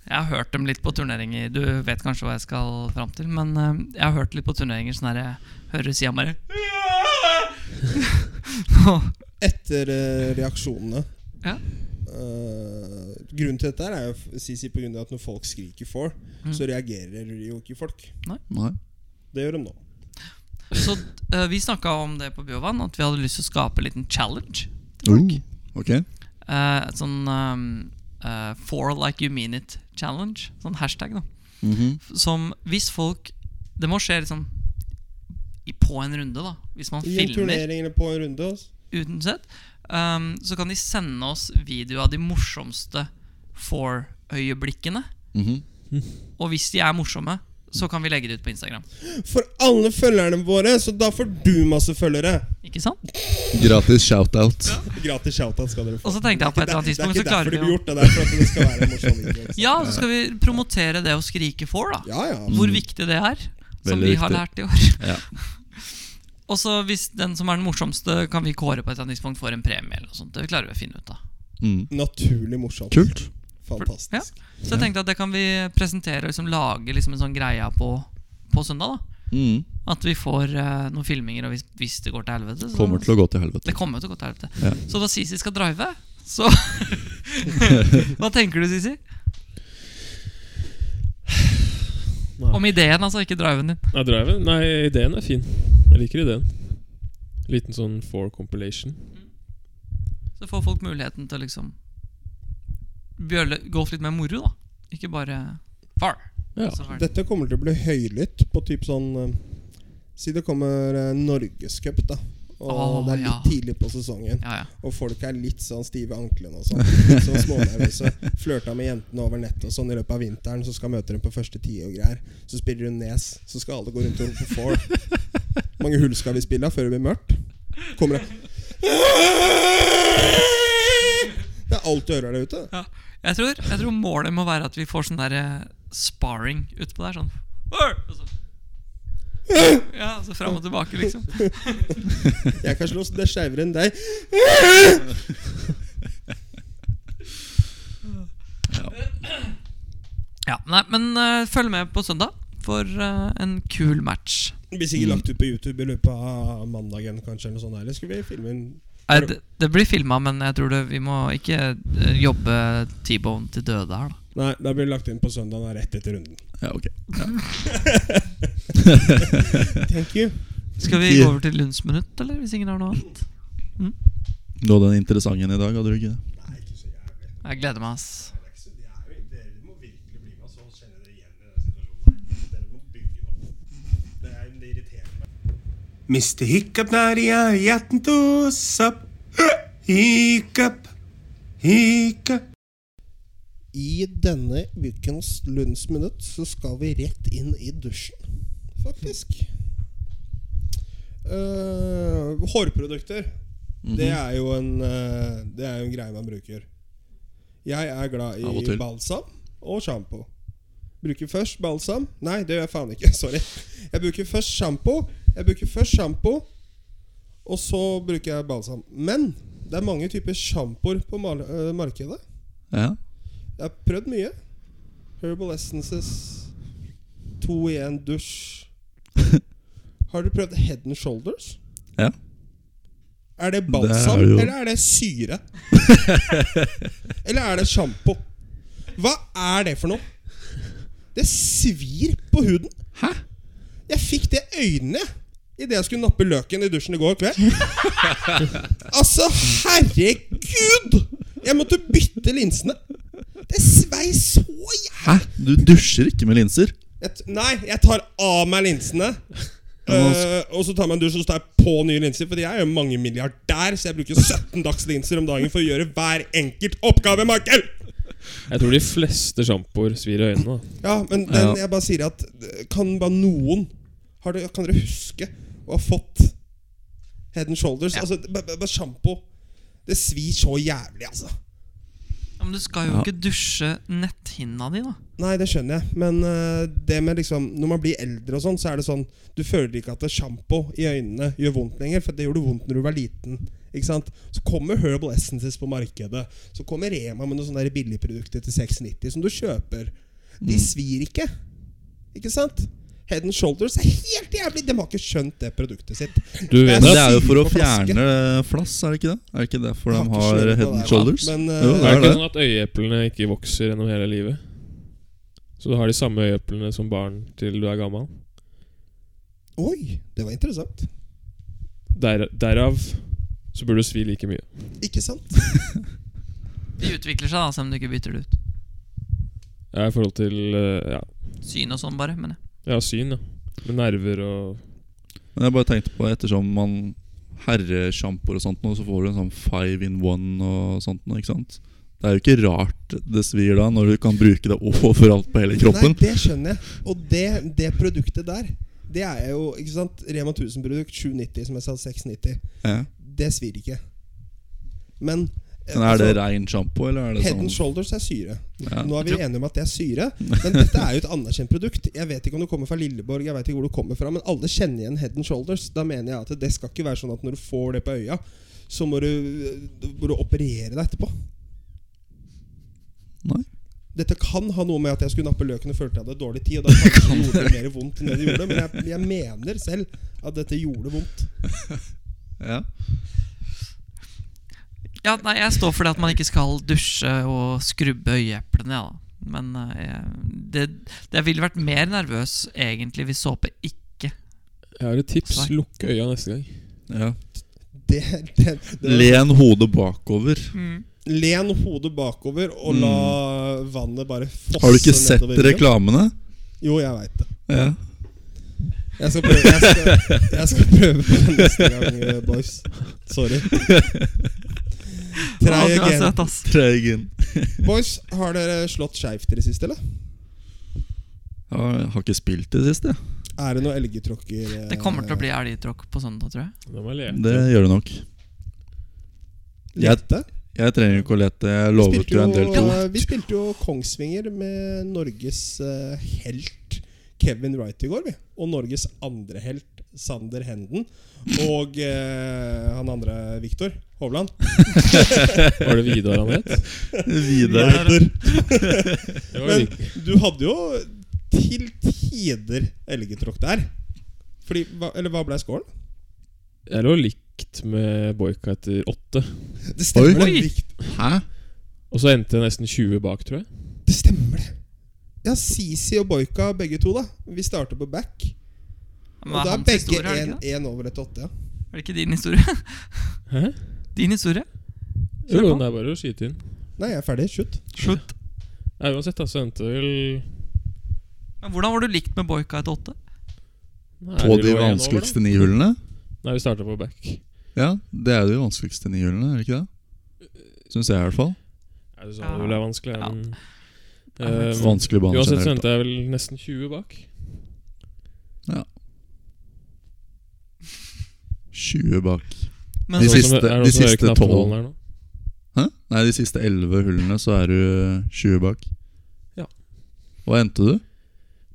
Speaker 2: Jeg har hørt dem litt på turneringer. Du vet kanskje hva jeg skal fram til, men eh, jeg har hørt litt på turneringer sånn her jeg hører Stian bare (laughs)
Speaker 1: Etter eh, reaksjonene
Speaker 2: Ja.
Speaker 1: Eh, Grunnen til dette her er jo Sisi på grunn av at når folk skriker 'for',
Speaker 2: Mm.
Speaker 1: så reagerer jo ikke folk.
Speaker 3: Nei.
Speaker 1: Det gjør de nå.
Speaker 2: Så eh, vi snakka om det på Biovan, at vi hadde lyst til å skape en liten challenge.
Speaker 3: Uh, ok.
Speaker 2: Eh, et sånn um, eh, For like you mean it challenge. Sånn hashtag, da.
Speaker 3: Mhm.
Speaker 2: F- Som hvis folk Det må skje liksom i- på en runde, da. Hvis man
Speaker 1: I en
Speaker 2: filmer
Speaker 1: turnering eller på en runde. Altså.
Speaker 2: uten sett. Um, så kan de sende oss video av de morsomste for-øyeblikkene.
Speaker 3: Mhm.
Speaker 2: Og hvis de er morsomme, så kan vi legge det ut på Instagram.
Speaker 1: For alle følgerne våre, så da får du masse følgere!
Speaker 2: Ikke sant?
Speaker 3: Gratis shout-out.
Speaker 1: Gratis shoutout skal dere få.
Speaker 2: Og så tenkte jeg på et eller annet
Speaker 1: det er
Speaker 2: tidspunkt så
Speaker 1: ikke
Speaker 2: klarer
Speaker 1: derfor
Speaker 2: vi
Speaker 1: det
Speaker 2: å
Speaker 1: blir gjort, det er derfor at det skal være morsomt. ikke
Speaker 2: (laughs)
Speaker 1: sant?
Speaker 2: Ja, så skal vi promotere det å skrike for, da.
Speaker 1: Ja, ja.
Speaker 2: Hvor viktig det er. Som
Speaker 3: Mm. Veldig
Speaker 2: vi har
Speaker 3: viktig.
Speaker 2: lært i år.
Speaker 3: Ja.
Speaker 2: (laughs) Og så hvis den som er den morsomste, kan vi kåre på et eller annet tidspunkt for en premie. eller noe sånt Det klarer vi å finne ut av.
Speaker 3: Mm.
Speaker 1: Naturlig morsomt.
Speaker 3: Kult.
Speaker 2: Ja.
Speaker 1: Fantastisk.
Speaker 2: Så jeg tenkte at det kan vi presentere og liksom lage liksom en sånn greie på, på søndag. da
Speaker 3: Mm.
Speaker 2: At vi får eh, noen filminger, og hvis, hvis det går til helvete så
Speaker 3: Kommer til å gå til helvete.
Speaker 2: Det kommer til å gå til helvete.
Speaker 3: Ja.
Speaker 2: Så da Sisi skal drive,
Speaker 3: (laughs)
Speaker 2: så Hva tenker du, Sisi?
Speaker 4: Nei.
Speaker 2: Om ideen, altså, ikke driven din.
Speaker 4: Nei, driven? Nei, ideen er fin. Jeg liker ideen. Liten sånn four compilation.
Speaker 2: Så får folk muligheten til å liksom bjølle, Golf litt mer moro, da. Ikke bare far.
Speaker 4: Ja.
Speaker 2: Så ferdig.
Speaker 1: Dette kommer til å bli høylytt på typ sånn eh, Si det kommer eh, Norgescup, da. Og
Speaker 2: Åh,
Speaker 1: det er litt
Speaker 2: ja.
Speaker 1: tidlig på sesongen,
Speaker 2: Ja, ja.
Speaker 1: og folk er litt sånn stive i anklene og sånn. Litt Sånn smånervøse. Flørta med jentene over nettet og sånn i løpet av vinteren. Så skal møte dem på første tie og greier. Så spiller hun Nes. Så skal alle gå rundt og rope four. Mange hull skal vi spille av før det blir mørkt? Kommer det Det er alt du hører der ute.
Speaker 2: Ja. Jeg, tror, jeg tror målet må være at vi får sånn der eh, sparring utpå der. Sånn «Oi!» og så. Ja, så fram og tilbake, liksom.
Speaker 1: Jeg kan slåss det er skeivere enn deg.
Speaker 2: Ja, nei, Men eh, følg med på søndag for eh, en kul match.
Speaker 1: Det blir sikkert lagt ut på YouTube i løpet av mandagen, kanskje. Eller noe sånt, eller skal vi filme en
Speaker 2: Nei, det, det blir filma, men jeg tror det, vi må ikke eh, jobbe T-bone til døde her, da.
Speaker 1: Nei, da blir det lagt inn på søndagen da, rett etter runden.
Speaker 3: Ja, ok.
Speaker 1: Thank you.
Speaker 2: Skal vi gå over til Lundsminutt, eller? Hvis ingen har noe annet?
Speaker 3: Du hadde en interessant en i dag, hadde du ikke det?
Speaker 1: Nei, ikke så jævlig.
Speaker 2: Jeg gleder meg, ass.
Speaker 1: Det er ikke så jævlig. Dere må virkelig bli med, så kjenner dere igjen i den situasjonen. Dere må bygge den opp. Det er det irriterer meg.
Speaker 5: Mr. Hiccup Nadia, hjerten tos opp. Hiccup, hiccup.
Speaker 1: i denne ukens Lundsminutt så skal vi rett inn i dusjen, faktisk. Eh, hårprodukter. Det
Speaker 3: Mhm.
Speaker 1: er jo en eh, Det er jo en greie man bruker. Jeg er glad
Speaker 3: Av og
Speaker 1: i
Speaker 3: til.
Speaker 1: balsam og sjampo. Bruker først balsam Nei, det gjør jeg faen ikke. (laughs) Sorry. Jeg bruker først sjampo. Jeg bruker først sjampo, og så bruker jeg balsam. Men det er mange typer sjampoer på mal- øh, markedet.
Speaker 3: Ja.
Speaker 1: Jeg har prøvd mye. Herbal Essences, to i en
Speaker 3: (laughs)
Speaker 1: dusj. Har du prøvd Head and Shoulders?
Speaker 3: ja.
Speaker 1: Er det balsam,
Speaker 3: Det er jo-
Speaker 1: eller er det
Speaker 3: (laughs)
Speaker 1: syre? eller er det sjampo? Hva er det for noe? Det svir på huden.
Speaker 3: Hæ?
Speaker 1: Jeg fikk det i øynene idet jeg skulle nappe løken i dusjen i går
Speaker 3: (laughs)
Speaker 1: kveld. altså, herregud! Jeg måtte bytte linsene. Det svei så jævlig
Speaker 3: Hæ? Du dusjer ikke med linser?
Speaker 1: Jeg t- Nei, jeg tar av meg linsene.
Speaker 3: Ja,
Speaker 1: eh, og så tar man en dusj og så tar jeg på nye linser. Fordi jeg er jo mange milliardær, så jeg bruker 17 dagslinser om dagen for å gjøre hver enkelt oppgave, Michael!
Speaker 4: Jeg tror de fleste sjampoer svir i øynene. da.
Speaker 1: Ja, men den,
Speaker 3: Ja.
Speaker 1: jeg bare sier at eh, Kan bare noen har dere, Kan dere huske å ha fått Head and Shoulders?
Speaker 2: Ja.
Speaker 1: Altså, bare- bare- bare sjampo. Det svir så jævlig, altså.
Speaker 2: Ja, Men du skal jo
Speaker 3: Ja.
Speaker 2: ikke dusje netthinna di, da.
Speaker 1: Nei, det skjønner jeg. Men eh, det med liksom når man blir eldre, og sånn så er det sånn du føler ikke at det sjampo i øynene gjør vondt lenger. For det gjorde vondt når du var liten. Ikke sant? Så kommer Herbal Essences på markedet. Så kommer Rema med noen sånne der billigprodukter til 6,90 som du kjøper.
Speaker 3: Mm.
Speaker 1: De svir ikke. Ikke sant? Head and Shoulders er helt jævlig! De har ikke skjønt det produktet sitt.
Speaker 4: Du
Speaker 1: Det
Speaker 3: Men
Speaker 4: vet
Speaker 3: det
Speaker 4: at
Speaker 3: er jo for å
Speaker 1: syre på flaske.
Speaker 3: fjerne eh, flass, er det ikke det? Er det ikke derfor
Speaker 1: Jeg har
Speaker 3: de
Speaker 1: ikke
Speaker 3: har
Speaker 1: skjønt på
Speaker 3: head and
Speaker 1: det,
Speaker 3: shoulders?
Speaker 1: men,
Speaker 3: jo,
Speaker 1: eh,
Speaker 3: det
Speaker 4: Er
Speaker 3: er
Speaker 4: det
Speaker 3: det.
Speaker 4: ikke sånn at øyeeplene ikke vokser gjennom hele livet? Så du har de samme øyeeplene som barn til du er gammel?
Speaker 1: Oi, det var interessant.
Speaker 4: Der, derav så burde du svi like mye.
Speaker 1: Ikke sant?
Speaker 2: De utvikler seg, da, selv om du ikke bytter det ut.
Speaker 4: Ja, I forhold til eh, ja,
Speaker 2: Syn og sånn, bare. Men jeg.
Speaker 4: ja syn, ja. Med nerver og
Speaker 3: Men jeg bare tenkte på ettersom man herresjampoer og sånt nå, så får du en sånn five in one og sånt nå, ikke sant? Det er jo ikke rart det svir da, når du kan bruke det (laughs) overalt på hele kroppen.
Speaker 1: Nei, det skjønner jeg. Og det, det produktet der, det er jo ikke sant, Rema 1000-produkt 790, som jeg sa, 690.
Speaker 3: Ja.
Speaker 1: Det svir ikke. Men eh,
Speaker 3: Men er det
Speaker 1: altså,
Speaker 3: rein sjampo, eller er det
Speaker 1: Head
Speaker 3: sånn
Speaker 1: and shoulders er syre.
Speaker 3: Ja.
Speaker 1: Nå er vi
Speaker 2: Ja.
Speaker 1: enige om at det er syre. Men dette er jo et anerkjent produkt. Jeg vet ikke om det kommer fra Lilleborg, Jeg vet ikke hvor det kommer fra men alle kjenner igjen head and shoulders. Da mener jeg at det skal ikke være sånn at når du får det på øya, så må du, må du operere deg etterpå.
Speaker 3: Nei.
Speaker 1: Dette kan ha noe med at jeg skulle nappe løken og følte jeg hadde dårlig tid. Og da kanskje det gjorde mer vondt enn det det gjorde Men jeg, jeg mener selv at dette gjorde vondt.
Speaker 3: Ja.
Speaker 2: Ja, nei, jeg står for det at man ikke skal dusje og skrubbe øyeeplene. Ja, da. Men eh, jeg, det, det, jeg ville vært mer nervøs egentlig hvis såpe ikke
Speaker 4: Jeg har et tips.
Speaker 2: Nei.
Speaker 4: Lukk øya neste gang.
Speaker 3: ja.
Speaker 1: Det, det, det,
Speaker 3: Len hodet bakover.
Speaker 2: Mm.
Speaker 1: len hodet bakover og la vannet bare fosse
Speaker 3: Mm. Har du ikke sett
Speaker 1: nedover ryggen.
Speaker 3: reklamene?
Speaker 1: Jo, jeg veit det.
Speaker 3: Ja.
Speaker 1: Jeg skal prøve, jeg skal, jeg skal prøve på det neste gang, eh, boys. Sorry. Try
Speaker 2: Å, du er
Speaker 1: again.
Speaker 2: søt, ass.
Speaker 3: Tregen.
Speaker 1: Boys, har dere slått skeivt i det siste, eller?
Speaker 3: Ja, jeg har ikke spilt det sist, jeg.
Speaker 1: Er det noe elgetråkker eh,
Speaker 2: Det kommer til å bli elgtråkk på søndag, tror jeg.
Speaker 4: Da må jeg lete.
Speaker 3: Det gjør det nok. Jeg-
Speaker 1: lette?
Speaker 3: Jeg trenger ikke å lete. Jeg lovet
Speaker 1: spilte
Speaker 3: jo en del
Speaker 1: jo, eh,
Speaker 3: til.
Speaker 1: Vi spilte jo Kongsvinger med Norges eh, helt Kevin Wright i går, vi. Og Norges andre helt, Sander Henden. Og eh, han andre, Viktor Hovland.
Speaker 4: Var det Vidar han
Speaker 3: (laughs)
Speaker 4: het?
Speaker 3: Videre.
Speaker 4: Det var
Speaker 1: Men
Speaker 4: Vig-
Speaker 1: du hadde jo til tider elgetråkk der. Fordi, hva, eller hva ble scoren?
Speaker 4: Jeg lå likt med Boika etter åtte.
Speaker 1: Det stemmer,
Speaker 2: Oi.
Speaker 1: det. Vikt-
Speaker 3: Hæ?
Speaker 4: Og så endte jeg nesten 20 bak, tror jeg.
Speaker 1: Det stemmer, det. Ja, Sisi og Boika, begge to. da Vi starter på back.
Speaker 2: Men det
Speaker 1: Og da
Speaker 2: er
Speaker 1: er
Speaker 2: hans
Speaker 1: begge
Speaker 2: historie, er det ikke det?
Speaker 1: 1 over etter 8. Ja.
Speaker 2: Er det ikke din historie?
Speaker 4: Hæ?
Speaker 2: Din historie?
Speaker 4: Jo,
Speaker 2: Kjør på.
Speaker 4: det er bare å skyte inn.
Speaker 1: Nei, jeg er ferdig. Slutt.
Speaker 2: Slutt.
Speaker 4: Nei, uansett, da, så endte det vel
Speaker 2: Men hvordan var du likt med Boika etter åtte?
Speaker 4: Nei,
Speaker 3: På
Speaker 4: vi
Speaker 3: de
Speaker 4: lå igjen over,
Speaker 3: vanskeligste nihullene?
Speaker 4: da. Nei, vi starta på back.
Speaker 3: Ja, det er de vanskeligste nihullene, er det ikke det? Syns jeg, i hvert fall.
Speaker 4: Nei, du sa det ville være vanskelig,
Speaker 2: Ja.
Speaker 4: men Eh,
Speaker 3: Vanskelig bane
Speaker 4: uansett så
Speaker 3: generelt.
Speaker 4: endte jeg vel nesten 20 bak.
Speaker 3: da. Ja. 20 bak.
Speaker 2: Men
Speaker 3: De
Speaker 4: Er det noen
Speaker 3: siste-
Speaker 4: som- er det noen
Speaker 3: de
Speaker 4: som hører
Speaker 3: siste
Speaker 4: knappen
Speaker 3: tolv.
Speaker 4: holden her nå?
Speaker 3: Hæ? Nei, de siste 11 hullene så er du 20 bak.
Speaker 4: Ja.
Speaker 3: Hva endte du?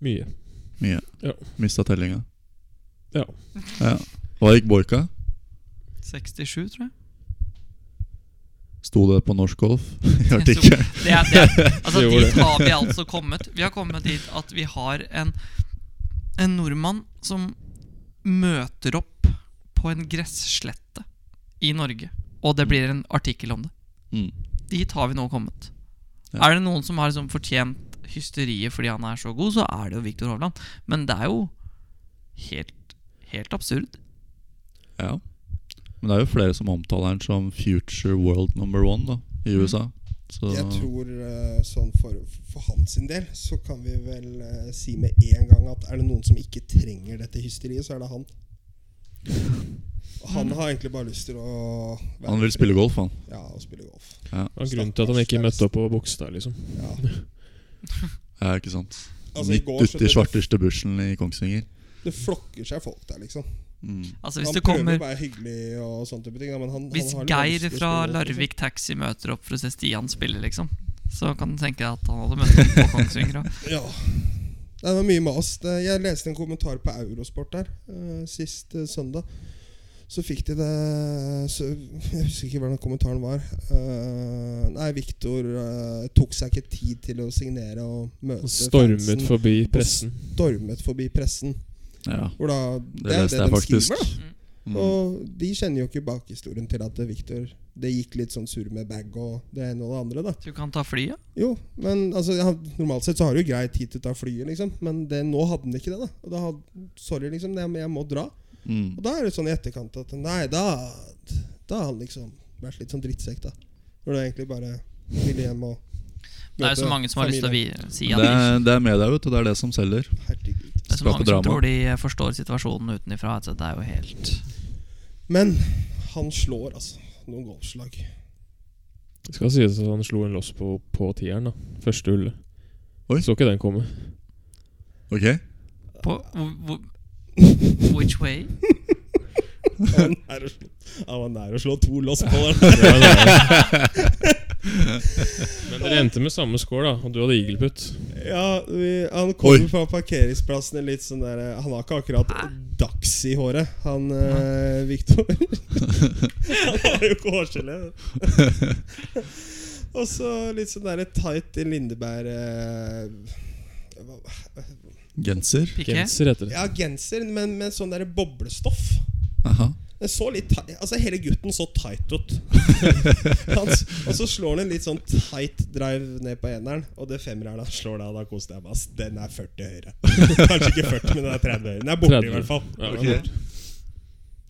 Speaker 4: Mye.
Speaker 3: Mye.
Speaker 4: Ja.
Speaker 3: Mista tellinga.
Speaker 4: Ja.
Speaker 3: ja. Hva gikk Boika?
Speaker 2: 67, tror jeg.
Speaker 3: Sto det på norsk golf (laughs) i artikkelen?
Speaker 2: Det er, det er,
Speaker 4: (laughs)
Speaker 2: altså
Speaker 4: Det gjorde
Speaker 2: Dit har vi altså kommet. Vi har kommet dit at vi har en, en nordmann som møter opp på en gresslette i Norge, og det blir en artikkel om det.
Speaker 3: Mm.
Speaker 2: Dit har vi nå kommet.
Speaker 3: Ja.
Speaker 2: Er det noen som har liksom fortjent hysteriet fordi han er så god, så er det jo Viktor Hovland. Men det er jo helt, helt absurd.
Speaker 3: Ja. Men det er jo flere som omtaler den som future world number one da, i USA. Så
Speaker 1: Jeg tror eh, sånn for, for hans sin del så kan vi vel eh, si med en gang at er det noen som ikke trenger dette hysteriet, så er det (laughs) han. Han har egentlig bare lyst til å være-
Speaker 3: han vil spille golf, han.
Speaker 1: Ja, og spille golf.
Speaker 4: Og grunnen til at han ikke møtte opp på Bogstad, liksom.
Speaker 1: Ja.
Speaker 3: Ja, ikke sant?
Speaker 1: Altså, i
Speaker 3: Midt
Speaker 1: går så
Speaker 3: ute i
Speaker 1: det-
Speaker 3: svarteste bushen i Kongsvinger.
Speaker 1: Det flokker seg folk der, liksom.
Speaker 3: Mm.
Speaker 2: Altså hvis
Speaker 1: han
Speaker 2: det
Speaker 1: prøver
Speaker 2: kommer
Speaker 1: å være hyggelig og sånne type ting. da, Men han,
Speaker 2: Hvis
Speaker 1: han har litt
Speaker 2: Geir
Speaker 1: lyst til å
Speaker 2: fra
Speaker 1: spille golf, liksom.
Speaker 2: Larvik Taxi møter opp for å se Stian spille, liksom, så kan du tenke deg at han hadde møtt opp på Kongsvinger òg.
Speaker 1: Ja. Det var mye mas. Det- Jeg leste en kommentar på Eurosport der eh, sist eh, søndag. Så fikk de det så, Jeg husker ikke hvordan kommentaren var. Eh, nei, Viktor tok seg ikke tid til å signere og møte
Speaker 4: Han stormet
Speaker 1: fansen.
Speaker 4: forbi pressen.
Speaker 1: stormet forbi pressen.
Speaker 3: Ja,
Speaker 1: Hvor da,
Speaker 3: det,
Speaker 1: det, er jo det
Speaker 3: leste jeg
Speaker 1: de
Speaker 3: faktisk.
Speaker 1: skriver, da.
Speaker 3: Mm.
Speaker 1: Og de kjenner jo ikke bakhistorien til at eh, Viktor Det gikk litt sånn sur med bag og det ene og det andre. da
Speaker 2: Du kan ta flyet.
Speaker 1: jo, men altså, ja, normalt sett så har du grei tid til å ta flyet, liksom. Men det, nå hadde den ikke det, da. Og da had, sorry, liksom, det, men jeg må dra.
Speaker 3: Mm.
Speaker 1: Og da er det sånn i etterkant at nei, da Da har han liksom vært litt sånn drittsekk, da. Når du egentlig bare ville hjem og
Speaker 2: Det er jo så
Speaker 1: møte
Speaker 2: mange som har lyst til å
Speaker 1: familien.
Speaker 2: vi- si
Speaker 3: Det,
Speaker 2: at de,
Speaker 3: er, det er media, vet du. Det er det som selger.
Speaker 1: Herregud.
Speaker 2: det er så
Speaker 3: skape
Speaker 2: mange som
Speaker 3: drama.
Speaker 2: tror de forstår situasjonen utenfra. Altså, det er jo helt
Speaker 1: Men han slår, altså. Noen
Speaker 2: (laughs)
Speaker 1: golfslag.
Speaker 4: Det skal sies at han slo en loss på, på tieren, da. Første hullet.
Speaker 3: Oi.
Speaker 4: Så ikke den komme.
Speaker 3: Ok?
Speaker 2: på, hvor-
Speaker 3: (laughs)
Speaker 2: hvor- Which way?
Speaker 1: Han er å slå, han var nær å slå to loss på den.
Speaker 4: Ja, det er det. Men dere endte med samme score, da. Og du hadde eagleputt.
Speaker 1: Ja, vi, han
Speaker 3: Oi.
Speaker 1: kommer fra parkeringsplassen i litt sånn der Han har ikke akkurat dags i håret, han eh, Victor. (laughs) han har jo ikke hårgelé. Og så litt sånn der tight i Lindeberg eh, hva-
Speaker 3: Genser.
Speaker 2: Piqué?
Speaker 4: Genser heter det.
Speaker 1: Ja, genser, men med sånn der boblestoff.
Speaker 3: Aha.
Speaker 1: Den så litt ti- Altså Hele gutten så tight
Speaker 3: (laughs)
Speaker 1: ut. han, s- og så slår han en litt sånn tight drive ned på eneren, og det femmeren han slår da, da koser jeg meg. ass. Den er 40
Speaker 3: (laughs)
Speaker 1: høyre. Kanskje ikke 40, men den er 30 høyre. Den er borte,
Speaker 4: 30.
Speaker 1: i hvert fall.
Speaker 4: Ja,
Speaker 3: Ok.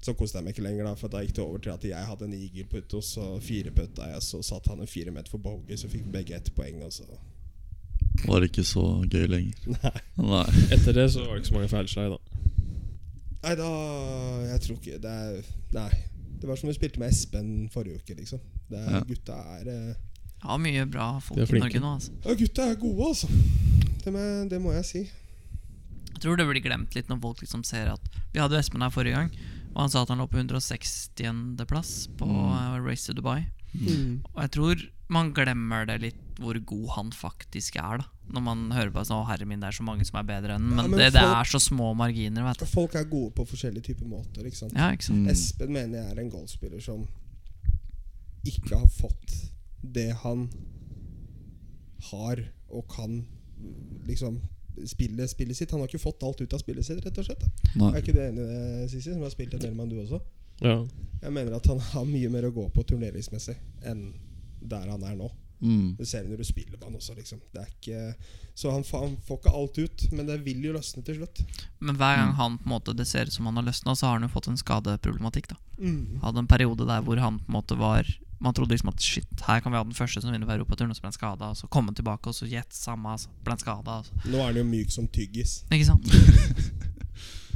Speaker 1: Så koste jeg meg ikke lenger, da for da gikk det over til at jeg hadde en eagle putt, og så fire putt da jeg så satt han en fire meter for bogey, så fikk begge ett poeng, og så
Speaker 3: Var ikke så gøy lenger.
Speaker 1: Nei.
Speaker 3: Nei.
Speaker 4: Etter det så var det ikke så mange feilslag, da.
Speaker 1: Nei, da Jeg tror ikke Det er Nei. Det var som vi spilte med Espen forrige uke, liksom. Det er,
Speaker 3: Ja.
Speaker 1: Gutta er eh,
Speaker 2: Ja, mye bra folk i
Speaker 4: De er
Speaker 2: Norge
Speaker 4: flinke.
Speaker 2: nå, altså.
Speaker 1: Ja, gutta er gode, altså. Det, må- det må jeg si.
Speaker 2: Jeg tror det blir glemt litt når folk liksom ser at Vi hadde jo Espen her forrige gang, og han sa at han lå på 160. plass på eh, Race to Dubai. Og jeg tror man glemmer det litt hvor god han faktisk er, da. Når man hører på sånn, å herre min, det er så mange som er bedre enn den», Men,
Speaker 1: men
Speaker 2: det, det
Speaker 1: folk-
Speaker 2: er så små marginer, vet du.
Speaker 1: Folk er gode på forskjellige typer måter. Ikke sant?
Speaker 2: Ja, ikke
Speaker 3: Mm.
Speaker 2: sant?
Speaker 1: Espen mener jeg er en golfspiller som ikke har fått det han har og kan liksom spille spillet sitt. Han har ikke fått alt ut av spillet sitt, rett og slett. da. Er
Speaker 3: Nei.
Speaker 1: ikke du enig i det, Sissi, som har spilt en del med han, du også?
Speaker 4: Ja.
Speaker 1: Jeg mener at han har mye mer å gå på turneringsmessig enn der han er nå.
Speaker 3: Mm.
Speaker 1: Det ser vi når du spiller med han også, liksom. Det er ikke, så han, fa- han får ikke alt ut, men det vil jo løsne til slutt.
Speaker 2: Mm. Men hver gang han på en måte det ser ut som han har løsna, så har han jo fått en skadeproblematikk. da Hadde en periode der hvor han på en måte var Man trodde liksom at shit, her kan vi ha den første som vinner på Europaturen, og så ble han skada, og så kom han tilbake, og så gjett samme, så ble han skada.
Speaker 1: Nå er han jo myk som tyggis.
Speaker 2: Ikke sant?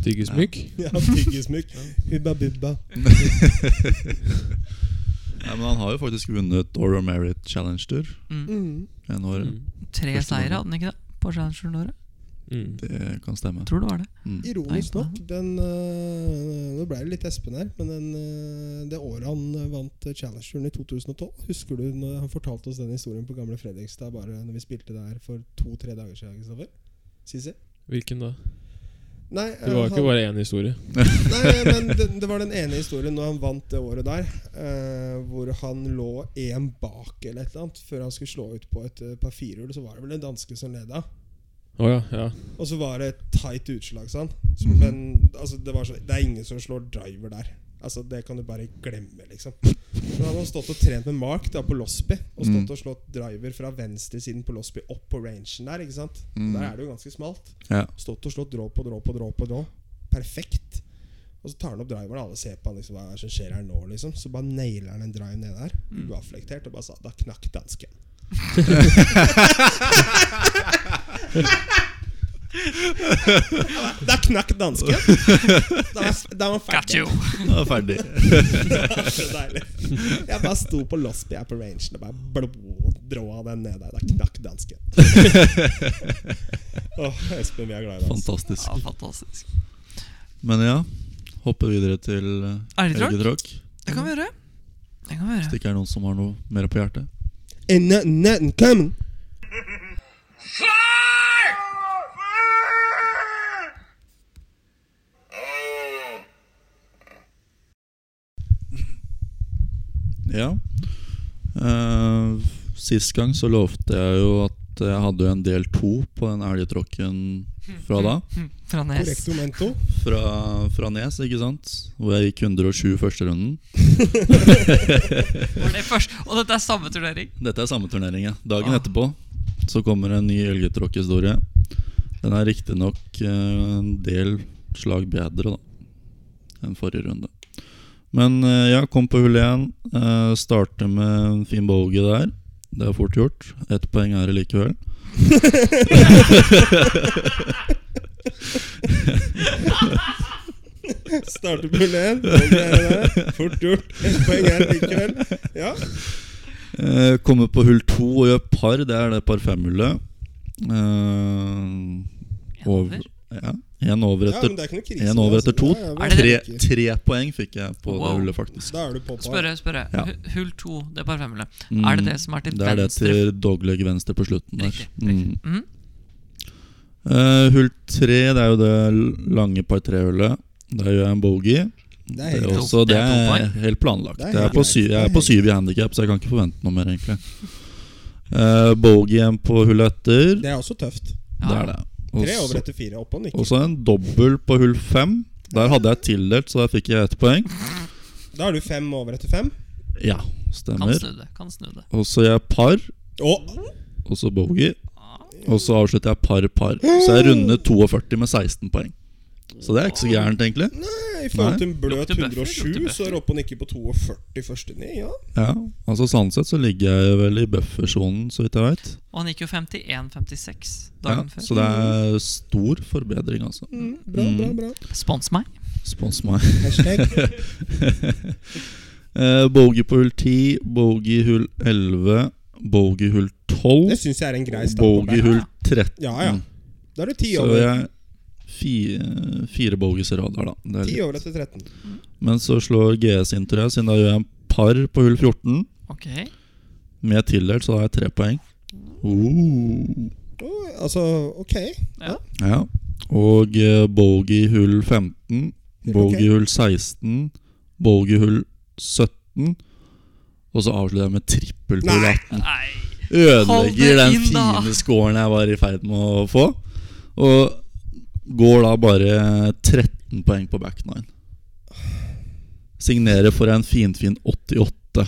Speaker 4: Tyggismygg.
Speaker 1: Ja, tyggismygg. Hubba bubba.
Speaker 3: Nei, men han har jo faktisk vunnet Oro Merit Challenge-tur.
Speaker 1: Mm.
Speaker 3: En år.
Speaker 2: Tre
Speaker 3: Første
Speaker 2: seire
Speaker 3: gangen.
Speaker 2: hadde han ikke det? På Challengeren året?
Speaker 4: Mm.
Speaker 3: Det kan stemme.
Speaker 2: Tror det var det.
Speaker 3: Mm.
Speaker 1: Ironisk
Speaker 2: Nei,
Speaker 1: nok, den øh, Nå ble det litt Espen her, men den, øh, det året han øh, vant Challenger i 2012 Husker du når han fortalte oss den historien på Gamle Fredrikstad bare når vi spilte der for to-tre dager siden? Kristoffer? Sisi?
Speaker 4: Hvilken da?
Speaker 1: Nei,
Speaker 4: Det
Speaker 1: øh,
Speaker 4: var jo ikke
Speaker 1: han-
Speaker 4: bare én historie.
Speaker 1: Nei, men det, det var den ene historien når han vant det året der. eh, hvor han lå én bak eller et eller annet før han skulle slå ut på et eh, par firehjul. Så var det vel en danske som leda.
Speaker 4: Å ja, ja.
Speaker 1: Og så var det et tight utslag. Sånn. Så, men altså, det, var sånn- det er ingen som slår driver der. Altså, Det kan du bare glemme, liksom. Men han hadde stått og trent med Mark da, på Losby. Og stått
Speaker 3: Mm.
Speaker 1: og slått driver fra venstresiden på Losby opp på rangen der. ikke sant?
Speaker 3: Mm.
Speaker 1: Der
Speaker 3: (laughs)
Speaker 1: er det jo ganske smalt.
Speaker 3: Ja.
Speaker 1: Stått og slått drå på drå på drå på drå. Perfekt. Og så tar han opp driveren, og alle ser på han liksom, hva er det som skjer her nå. liksom Så bare nailer han en drive ned der,
Speaker 3: Mm.
Speaker 1: uavflektert, og bare sa da knakk
Speaker 3: (laughs)
Speaker 1: dansken. da knakk dansken! Da var, da var han
Speaker 2: Got
Speaker 1: ferdig.
Speaker 2: you!
Speaker 3: Da er ferdig.
Speaker 1: Det var så deilig. Jeg bare sto på Losby her på rangen og bare bloddråa den ned der. Da knakk dansken. Åh, Espen, vi er glad i deg.
Speaker 3: Fantastisk.
Speaker 2: Ja, fantastisk.
Speaker 3: Men ja, hoppe videre til eh,
Speaker 2: Elgetråkk?
Speaker 3: elgetråkk.
Speaker 2: Det kan vi gjøre. Det kan vi
Speaker 3: Hvis
Speaker 2: gjøre.
Speaker 3: det ikke er noen som har noe mer på hjertet.
Speaker 1: Ain't nothing, nothing coming.
Speaker 3: Ja. Eh, sist gang så lovte jeg jo at jeg hadde jo en del to på den elgetråkken fra da.
Speaker 2: Mm, Fra Nes.
Speaker 1: Correcto mento.
Speaker 3: Fra, fra Nes, ikke sant? Hvor jeg gikk 107 første runden.
Speaker 2: Var det først? Og dette er samme turnering.
Speaker 3: Dette er samme turnering, ja. Dagen
Speaker 2: Ah.
Speaker 3: etterpå så kommer en ny Ølgetråkk-historie. Den er riktignok eh, en del slag bedre da enn forrige runde. Men eh, ja, kom på hull igjen. Eh, starter med en fin bogey der. Det er fort gjort. Ett poeng er det likevel.
Speaker 1: Starter på hull én. Poeng er der. Fort gjort. Ett poeng er likevel. Ja.
Speaker 3: Eh, Kommer på hull to og gjør par. Det er det par fem-hullet. Eh, over. Ja, Én over
Speaker 1: ja,
Speaker 3: etter
Speaker 1: men det er ikke noe krise.
Speaker 3: En over
Speaker 1: altså.
Speaker 3: etter to.
Speaker 1: Ja, ja,
Speaker 2: Er
Speaker 1: men-
Speaker 2: det
Speaker 3: Tre, tre poeng fikk jeg på det
Speaker 2: Wow.
Speaker 3: hullet, faktisk.
Speaker 1: Da er du på par.
Speaker 2: Spørre, spørre.
Speaker 3: Ja.
Speaker 2: Hu- Hull to, det er par femmere.
Speaker 3: Mm,
Speaker 2: Er det det som er til
Speaker 3: det er det
Speaker 2: venstre?
Speaker 3: til dogleg venstre på slutten der.
Speaker 2: Riktig,
Speaker 3: Mm.
Speaker 2: Mhm.
Speaker 3: Eh, hull tre, det er jo det l- lange par tre-hullet. Der gjør jeg en bogey.
Speaker 1: Det er
Speaker 3: Det er
Speaker 1: helt
Speaker 2: jo-
Speaker 3: også
Speaker 2: Det
Speaker 3: det
Speaker 2: er to
Speaker 3: er
Speaker 2: poeng.
Speaker 3: helt planlagt.
Speaker 1: Det er
Speaker 3: Jeg er
Speaker 1: helt
Speaker 3: på syv,
Speaker 1: greit.
Speaker 3: jeg er
Speaker 1: Det er
Speaker 3: på
Speaker 1: helt
Speaker 3: syv i handikap, så jeg kan ikke forvente noe mer, egentlig. Eh, bogey igjen på hullet etter.
Speaker 1: Det er også tøft.
Speaker 2: Ja.
Speaker 3: Det er det.
Speaker 1: Tre over
Speaker 3: Også,
Speaker 1: etter fire. Opp og nikker.
Speaker 3: også en dobbel på hull fem. Der hadde jeg tildelt, så der fikk jeg ett poeng.
Speaker 1: Da er du fem over etter fem.
Speaker 3: Ja,
Speaker 2: Kan
Speaker 3: stemmer.
Speaker 2: snu det. Kan snu det.
Speaker 3: Og så gjør jeg par.
Speaker 1: Å,
Speaker 3: og så bogey. Og så avslutter jeg par-par. Så jeg runder 42 med 16 poeng. Så det er ikke så gærent, egentlig.
Speaker 1: nei, i forhold til en bløt
Speaker 2: Lukter bøffer,
Speaker 1: 107,
Speaker 2: lukter
Speaker 1: så er du opp og nikker på 42 første ni. Ja.
Speaker 3: Ja, altså Sånn sett så ligger jeg vel i buffersonen, så vidt jeg veit.
Speaker 2: Og han gikk jo 51-56
Speaker 3: Ja,
Speaker 2: dagen før.
Speaker 3: så det er stor forbedring, altså.
Speaker 1: Mm, bra, bra, bra.
Speaker 2: Spons meg.
Speaker 3: Spons meg.
Speaker 1: Hashtag.
Speaker 3: (laughs) Eh, bogey på hull 10, bogey hull 11, bogey hull 12,
Speaker 1: Det syns jeg er en grei
Speaker 3: og
Speaker 1: start. på
Speaker 3: bogey
Speaker 1: det.
Speaker 3: hull 13.
Speaker 1: Ja, Ah, ja. Da er du ti
Speaker 3: Mm. Så
Speaker 1: over.
Speaker 3: jeg fire, fire bogeys i rad der, da. Det er
Speaker 1: Ti
Speaker 3: litt.
Speaker 1: over etter 13.
Speaker 3: Men så slår GS inn, tror jeg, siden da gjør jeg en par på hull 14.
Speaker 2: Ok.
Speaker 3: Med tildelt så har jeg tre poeng.
Speaker 1: Å, altså, ok.
Speaker 3: Ja. Og eh, bogey hull 15,
Speaker 1: Ok.
Speaker 3: bogey hull 16, bogey hull 17. Og så avslutter jeg med trippel på hull
Speaker 1: Nei.
Speaker 3: 18.
Speaker 2: Nei. Hold det
Speaker 3: Ødelegger den
Speaker 2: inn, da.
Speaker 3: fine scoren jeg var i ferd med å få. Og går da bare 13 poeng på back nine. Signerer for en finfin 88.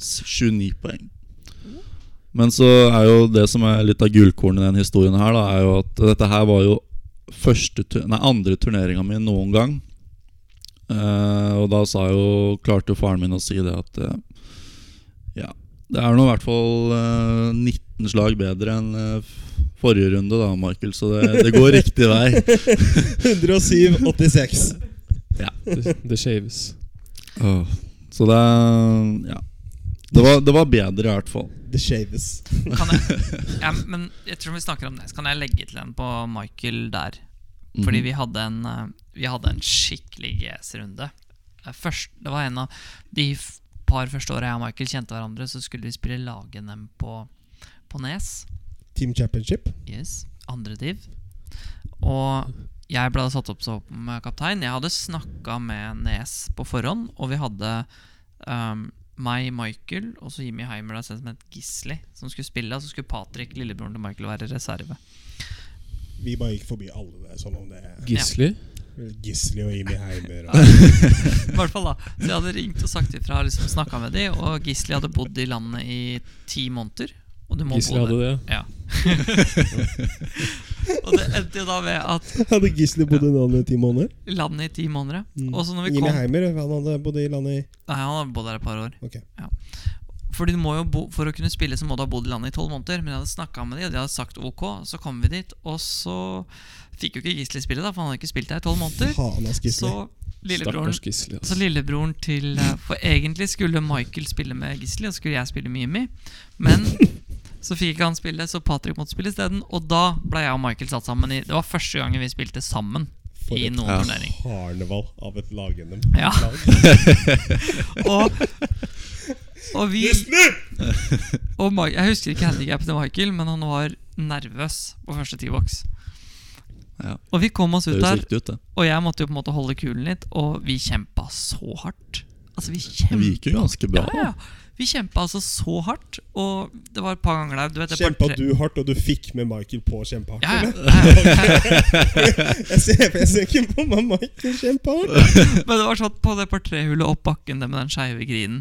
Speaker 3: S- 29 poeng. Men så er jo det som er litt av gullkornet i den historien her, da, er jo at dette her var jo første, tu- nei, andre turneringa mi noen gang. Eh, og da sa jo, klarte jo faren min å si det at eh, Ja, det er nå i hvert fall eh, 19 slag bedre enn eh, f- forrige runde, da, Michael. Så det, det går riktig vei.
Speaker 1: 107, 86.
Speaker 4: Det, det shaves.
Speaker 3: Åh, Så det er Ja. Det var, det var bedre, i hvert fall.
Speaker 1: Det shaves.
Speaker 2: Kan jeg,
Speaker 3: (laughs)
Speaker 2: ja, men ettersom vi snakker om det, så kan jeg legge til en på Michael der.
Speaker 3: Mhm.
Speaker 2: Fordi vi hadde en, eh, vi hadde en skikkelig GS-runde. Eh, Først, det var en av de f- par første åra jeg og Michael kjente hverandre, så skulle vi spille lag-NM på, på Nes.
Speaker 1: Team Championship.
Speaker 2: Yes, andre div. Og jeg ble satt opp som kaptein. Jeg hadde snakka med Nes på forhånd, og vi hadde um, meg, Michael og så Jimmy Heimer da, som het Gisli, som skulle spille. Og så skulle Patrick, lillebroren til Michael, være reserve.
Speaker 1: Vi bare gikk forbi alle det, som om det
Speaker 4: Gisli?
Speaker 1: Gisli og Jimmy Heimer og
Speaker 2: I hvert fall da Så jeg hadde ringt og sagt ifra, liksom snakka med de, og Gisli hadde bodd i landet i ti måneder. Og du må
Speaker 4: Gisli
Speaker 2: bo der.
Speaker 4: hadde det.
Speaker 2: Ja. og det endte jo da ved at
Speaker 1: Hadde Gisli bodd i landet i ti måneder?
Speaker 2: landet i ti måneder
Speaker 4: Mm.
Speaker 2: Og så når vi
Speaker 1: Jimmy
Speaker 2: kom
Speaker 1: Heimer han hadde bodd i landet i
Speaker 2: Nei, han har bodd her et par år.
Speaker 1: Ok.
Speaker 2: Ja. Fordi du må jo bo, For å kunne spille så må du ha bodd i landet i tolv måneder. Men jeg hadde snakka med de, og de hadde sagt ok. Så kom vi dit, og så fikk jo ikke Gisli spille, da, for han hadde ikke spilt her i tolv måneder.
Speaker 1: Faen, ass, Gisli.
Speaker 2: Så lillebroren,
Speaker 4: Stakkars Gisli.
Speaker 2: så
Speaker 4: Altså.
Speaker 2: lillebroren til eh, For egentlig skulle Michael spille med Gisli, og så skulle jeg spille med Jimmy. Men så fikk ikke han spille, så Patrick måtte spille isteden. Og da ble jeg og Michael satt sammen i Det var første gangen vi spilte sammen
Speaker 1: For
Speaker 2: i
Speaker 1: et
Speaker 2: noen
Speaker 3: ass.
Speaker 2: turnering.
Speaker 1: Karneval av et lag-NM.
Speaker 2: Ja. Og, og vi (laughs) og Ma- Jeg husker ikke handikappen til Michael, men han var nervøs på første T-box.
Speaker 3: Ja.
Speaker 2: Og vi kom oss
Speaker 3: Det
Speaker 2: ut
Speaker 3: høres
Speaker 2: der,
Speaker 3: riktig ut, det.
Speaker 2: og jeg måtte jo på en måte holde kulen litt, og vi kjempa så hardt. Altså, vi
Speaker 3: Men vi
Speaker 2: kjempa
Speaker 3: gikk jo ganske bra.
Speaker 2: ja, ja. Vi kjempa altså så hardt, og det var et par ganger der du vet, det par
Speaker 1: Kjempa
Speaker 2: tre-
Speaker 1: du hardt, og du fikk med Michael på å kjempe hardt?
Speaker 2: Ja, ja,
Speaker 1: eller?
Speaker 2: ja, ja. (laughs)
Speaker 1: Jeg ser, jeg ser ikke på meg Michael kjempe hardt.
Speaker 2: Men det var sånn på det portréhullet opp bakken, det med den skeive grinen.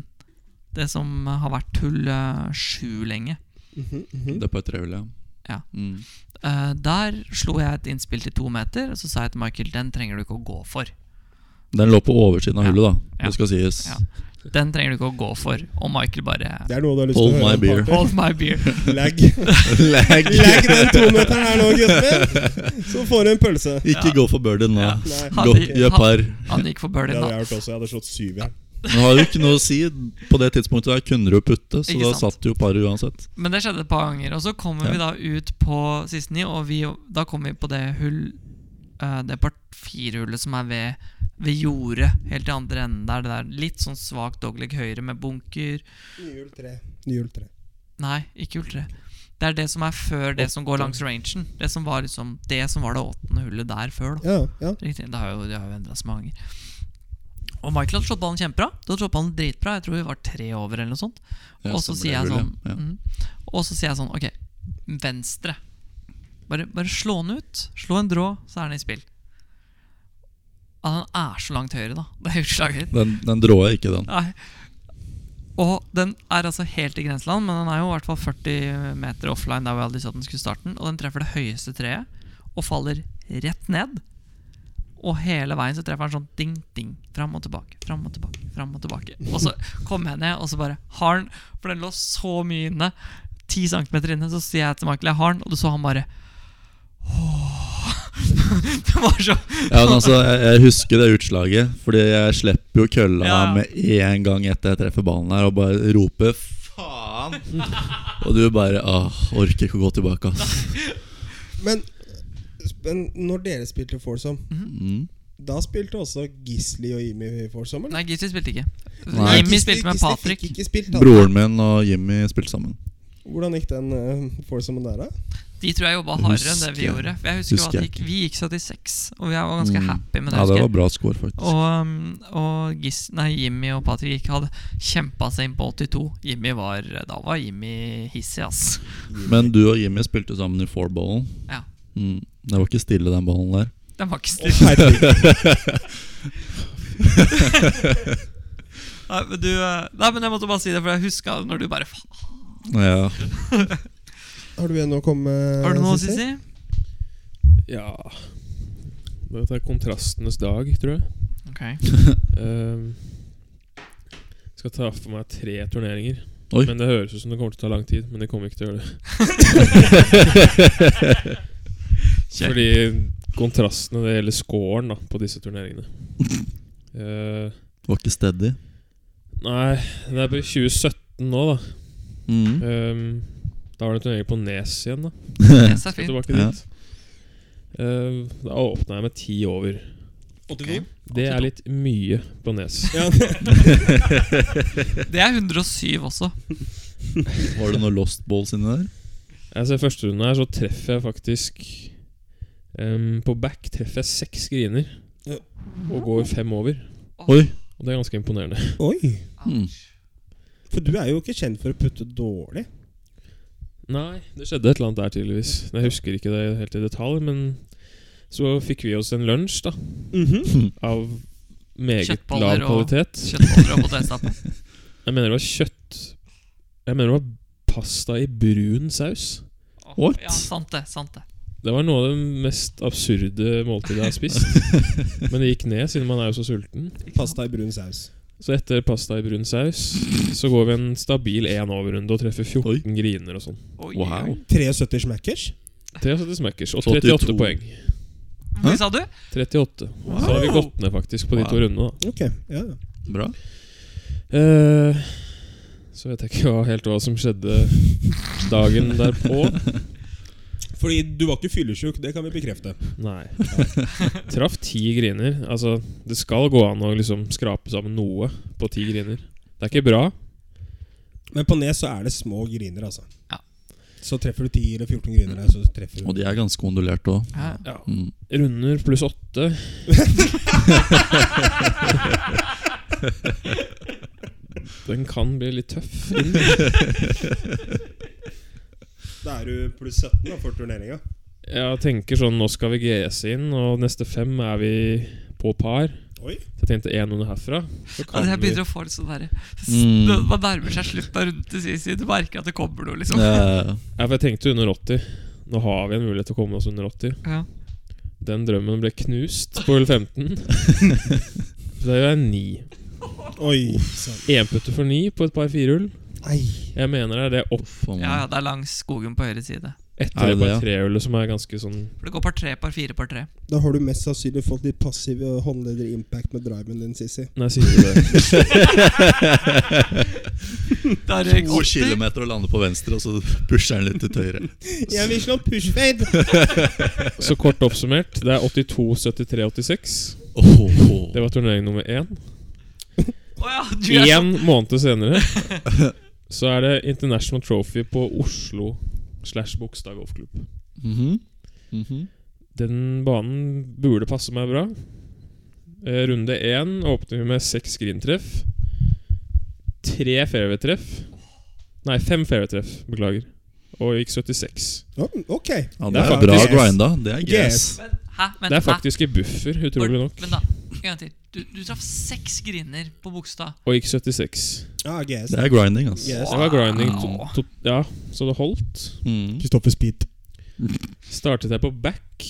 Speaker 2: Det som har vært hull eh, sju lenge.
Speaker 3: Det er på et trehjul, ja.
Speaker 2: Ja.
Speaker 3: Mm.
Speaker 2: Eh, der slo jeg et innspill til to meter, og så sa jeg til Michael den trenger du ikke å gå for.
Speaker 3: Den lå på oversiden av
Speaker 2: Ja.
Speaker 3: hullet, da.
Speaker 2: Ja.
Speaker 3: Det skal sies.
Speaker 2: Ja. Den trenger du ikke å gå for. Og Michael bare
Speaker 1: Det er noe du har lyst til
Speaker 3: Hold
Speaker 1: å høre.
Speaker 3: my
Speaker 1: om,
Speaker 3: beer.
Speaker 1: Pater.
Speaker 2: Hold my beer.
Speaker 1: Lag.
Speaker 3: (laughs) Lag.
Speaker 1: Lag den tometeren her nå, gutten. Så får du en pølse.
Speaker 3: Ikke
Speaker 2: Ja.
Speaker 3: gå for birdie nå.
Speaker 1: Nei,
Speaker 2: Han-
Speaker 3: Gå, gjør
Speaker 2: han-
Speaker 3: par.
Speaker 2: Han gikk for
Speaker 1: Det
Speaker 2: birdien,
Speaker 1: hadde
Speaker 2: da.
Speaker 1: jeg gjort også. Jeg hadde slått syv igjen.
Speaker 3: Men det har jo ikke noe å si. På det tidspunktet der kunne du jo putte, så
Speaker 2: Ikke
Speaker 3: da
Speaker 2: sant?
Speaker 3: satt jo paret uansett.
Speaker 2: Men det skjedde et par ganger. Og så kommer vi da ut på siste ni, og vi, da kommer vi på det hull eh, Det part fire-hullet som er ved, ved jordet, helt i andre enden der. Det der litt sånn svakt dogleg høyre med bunker.
Speaker 1: Nyhjul tre. Nyhjul tre.
Speaker 2: Nei, ikke hull tre. Det er det som er før det som går langs rangen. Det som var liksom Det som var det åttende hullet der før, da.
Speaker 1: Ja, ja.
Speaker 2: Riktig, det har jo, det har jo endra seg mange ganger. Og Michael hadde slått ballen kjempebra. Du hadde slått ballen dritbra. Jeg tror vi var tre over, eller noe sånt.
Speaker 3: Ja,
Speaker 2: og så
Speaker 3: stemmer
Speaker 2: sier jeg
Speaker 3: det,
Speaker 2: sånn
Speaker 3: Julie. Ja.
Speaker 2: mm, Og så sier jeg sånn Ok, venstre. Bare, bare slå den ut. Slå en drå, så er den i spill. Ja, den er så langt høyre, da. Det er utslaget.
Speaker 3: Den, den drå jeg ikke, den.
Speaker 2: Nei. Og den er altså helt i grenseland, men den er jo i hvert fall 40 meter offline der vi aldri sa at den skulle starte den. Og den treffer det høyeste treet og faller rett ned. Og hele veien så treffer den sånn ding, ding. Fram og tilbake, fram og tilbake. fram Og tilbake Og så kommer jeg ned, og så bare har den For den lå så mye inne. 10 centimeter inne, så sier jeg til Michael jeg har den, og du så han bare Åh. (laughs) Det var så
Speaker 3: Ja, men altså, jeg, jeg husker det utslaget, Fordi jeg slipper jo kølla
Speaker 2: Ja.
Speaker 3: med en gang etter jeg treffer ballen her, og bare roper 'faen'. Og du bare åh, orker ikke å gå tilbake, ass.
Speaker 1: Men, men når dere spilte foursome,
Speaker 3: Mm.
Speaker 1: da spilte også Gisli og Jimmy foursome, eller?
Speaker 2: Nei, Gisli spilte ikke.
Speaker 3: Nei.
Speaker 2: Jimmy
Speaker 1: Gisli-
Speaker 2: spilte med
Speaker 1: Gisli
Speaker 2: Patrick.
Speaker 1: Fikk ikke spilt, da.
Speaker 3: Broren min og Jimmy spilte sammen.
Speaker 1: Hvordan gikk den uh, foursomen der, da?
Speaker 2: De tror jeg jobba
Speaker 3: Jeg
Speaker 2: hardere enn det vi
Speaker 3: husker-
Speaker 2: gjorde. For jeg husker, jo
Speaker 3: husker
Speaker 2: at
Speaker 3: jeg
Speaker 2: vi gikk, vi gikk 76, og jeg var ganske
Speaker 3: Mm.
Speaker 2: happy med det.
Speaker 3: Ja, det
Speaker 2: husker
Speaker 3: var
Speaker 2: jeg.
Speaker 3: bra score, faktisk.
Speaker 2: Og, um, og Gis, nei, Jimmy og Patrick hadde kjempa seg inn på 82. Jimmy var, da var Jimmy hissig, ass.
Speaker 3: Men du og Jimmy spilte sammen i fourballen.
Speaker 2: Ja.
Speaker 3: Mm. Det var ikke stille, den ballen der.
Speaker 2: Den var ikke
Speaker 1: Å,
Speaker 2: stille.
Speaker 1: herregud.
Speaker 2: Nei, men, du, eh, nei, men jeg måtte bare si det, for jeg huska når du bare faen.
Speaker 3: (laughs) Ja.
Speaker 1: Har du igjen å komme med?
Speaker 2: Har du noe, Sissi?
Speaker 4: Ja Dette er kontrastenes dag, tror jeg.
Speaker 2: Ok.
Speaker 4: Ehm, skal ta for meg tre turneringer.
Speaker 3: Oi.
Speaker 4: Men Det høres ut som det kommer til å ta lang tid, men det kommer ikke til å
Speaker 3: (laughs)
Speaker 4: gjøre det.
Speaker 2: Kjør.
Speaker 4: Fordi kontrastene det gjelder scoren da, på disse
Speaker 3: (laughs)
Speaker 4: turneringene. Eh,
Speaker 3: Var ikke steady.
Speaker 4: nei, det er på 2017 nå, da.
Speaker 3: Mm.
Speaker 4: Ehm, da var det turnering på Nes igjen, da.
Speaker 2: Nes er
Speaker 4: Skal
Speaker 2: fint.
Speaker 4: tilbake
Speaker 3: Ja.
Speaker 4: dit. Ehm, da åpna jeg med ti over.
Speaker 1: 82?
Speaker 4: Det er litt mye på Nes.
Speaker 1: Ja,
Speaker 2: Det er 107 også.
Speaker 3: (laughs) Var det noe Lost Balls inni der?
Speaker 4: Altså, I første runde her så treffer jeg faktisk ehm, På back treffer jeg seks griner.
Speaker 1: Ja.
Speaker 4: Og går fem over.
Speaker 3: Oi!
Speaker 4: Og det er ganske imponerende.
Speaker 1: Oi!
Speaker 3: Mm.
Speaker 1: For du er jo ikke kjent for å putte dårlig.
Speaker 4: Nei, det skjedde et eller annet der tydeligvis. Jeg husker ikke det helt i detalj, men så fikk vi oss en lunsj da
Speaker 1: Mhm.
Speaker 4: av meget lav
Speaker 2: Kjøttboller og-
Speaker 4: kvalitet.
Speaker 2: Kjøttboller og potetstappe.
Speaker 4: Jeg mener det var kjøtt Jeg mener det var pasta i brun saus.
Speaker 2: Å,
Speaker 3: What?
Speaker 2: Ja, sant det. sant det
Speaker 4: Det var noe av det mest absurde måltidet jeg har spist.
Speaker 2: (laughs)
Speaker 4: Men det gikk ned, siden man er jo så sulten.
Speaker 1: Pasta i brun saus.
Speaker 4: Så etter pasta i brun saus så går vi en stabil én over-runde og treffer 14 griner og sånn.
Speaker 2: Oi,
Speaker 3: (laughs) Wow.
Speaker 1: 73 smackers.
Speaker 4: 73 smackers og 38
Speaker 3: 82.
Speaker 4: poeng.
Speaker 2: Hva sa du?
Speaker 4: 38. Så har vi
Speaker 2: Wow.
Speaker 4: gått ned faktisk på de
Speaker 3: Wow.
Speaker 4: to rundene. da
Speaker 1: Ok, ja
Speaker 3: Bra.
Speaker 4: Eh, Så vet jeg ikke hva, helt hva som skjedde dagen derpå.
Speaker 1: Fordi du var ikke fyllesjuk, det kan vi bekrefte.
Speaker 4: Nei. Traff ti griner. Altså, det skal gå an å liksom skrape sammen noe på ti griner. Det er ikke bra.
Speaker 1: Men på Nes så er det små griner, altså.
Speaker 2: Ja.
Speaker 1: Så treffer du 10 eller 14 griner, så treffer
Speaker 3: Og
Speaker 1: du
Speaker 3: de er ganske ondulerte òg.
Speaker 2: Ja. (laughs)
Speaker 3: Mm.
Speaker 4: Runder pluss åtte. Den kan bli litt tøff. inn.
Speaker 1: Da er du pluss 17 da, for turneringa.
Speaker 4: Jeg tenker sånn, nå skal vi GS inn, og neste fem er vi på par.
Speaker 1: Oi.
Speaker 4: Så jeg tenkte én under herfra. Så
Speaker 2: Ja,
Speaker 4: kan
Speaker 2: jeg
Speaker 4: vi
Speaker 2: begynner å få litt sånn derre
Speaker 3: Mm.
Speaker 2: Det- (laughs) Man nærmer seg slutten av runden til Sisi. Du merker at det kommer noe, liksom.
Speaker 3: Ja,
Speaker 4: Ja, for jeg tenkte under 80. Nå har vi en mulighet til å komme oss under 80.
Speaker 2: Ja.
Speaker 4: Den drømmen ble knust på hull
Speaker 3: (laughs)
Speaker 4: 15. Så Da gjør jeg 9.
Speaker 1: Oi. sant.
Speaker 4: Énputter for 9 på et par firehull.
Speaker 1: Ei.
Speaker 4: Jeg mener det er det opp
Speaker 3: faen
Speaker 2: ja, ja,
Speaker 3: meg.
Speaker 2: det er langs skogen på høyre side.
Speaker 4: etter
Speaker 3: Er det
Speaker 4: det
Speaker 3: det,
Speaker 4: par
Speaker 3: ja?
Speaker 4: trehullet, som er ganske sånn
Speaker 2: For det går par tre, par fire, par
Speaker 4: (laughs)
Speaker 2: tre.
Speaker 1: Da har du mest sannsynlig fått litt passiv eh, håndleder-impact med driven din, (laughs) Sissy.
Speaker 4: Nei, sier du det?
Speaker 2: Der gikk
Speaker 3: To
Speaker 2: 80.
Speaker 3: kilometer og lander på venstre, og så pusher den litt til høyre.
Speaker 1: Jeg vil slå pushfade!
Speaker 4: Så kort oppsummert, det er 82, 73, 86.
Speaker 3: Åh.
Speaker 4: Det var turnering nummer én.
Speaker 2: Å ja, du er så
Speaker 4: Én måned senere så er det International Trophy på Oslo slash Bogstad golfklubb.
Speaker 3: Mhm. Mhm.
Speaker 4: Den banen burde passe meg bra. Eh, Runde én åpner vi med seks green-treff. Tre fairway-treff. Nei, fem fairway-treff, beklager. Og gikk 76.
Speaker 1: Oh, ok.
Speaker 3: Ja,
Speaker 4: Det
Speaker 3: det
Speaker 4: er
Speaker 3: er bra
Speaker 1: faktisk-
Speaker 3: grinda. Det er
Speaker 1: Yes.
Speaker 3: gas.
Speaker 2: Men, hæ? Men,
Speaker 4: Det er
Speaker 2: hæ?
Speaker 4: faktisk i buffer, utrolig nok.
Speaker 2: Men da, en gang til. Du, du traff seks griner på Bogstad.
Speaker 4: Og gikk 76.
Speaker 1: Ja, GS.
Speaker 3: Det er grinding, altså.
Speaker 1: Yes.
Speaker 4: Det var grinding.
Speaker 2: Wow.
Speaker 4: To, to, ja, så det holdt. (laughs)
Speaker 3: Mm.
Speaker 1: Kristoffer Speed.
Speaker 4: Startet jeg på back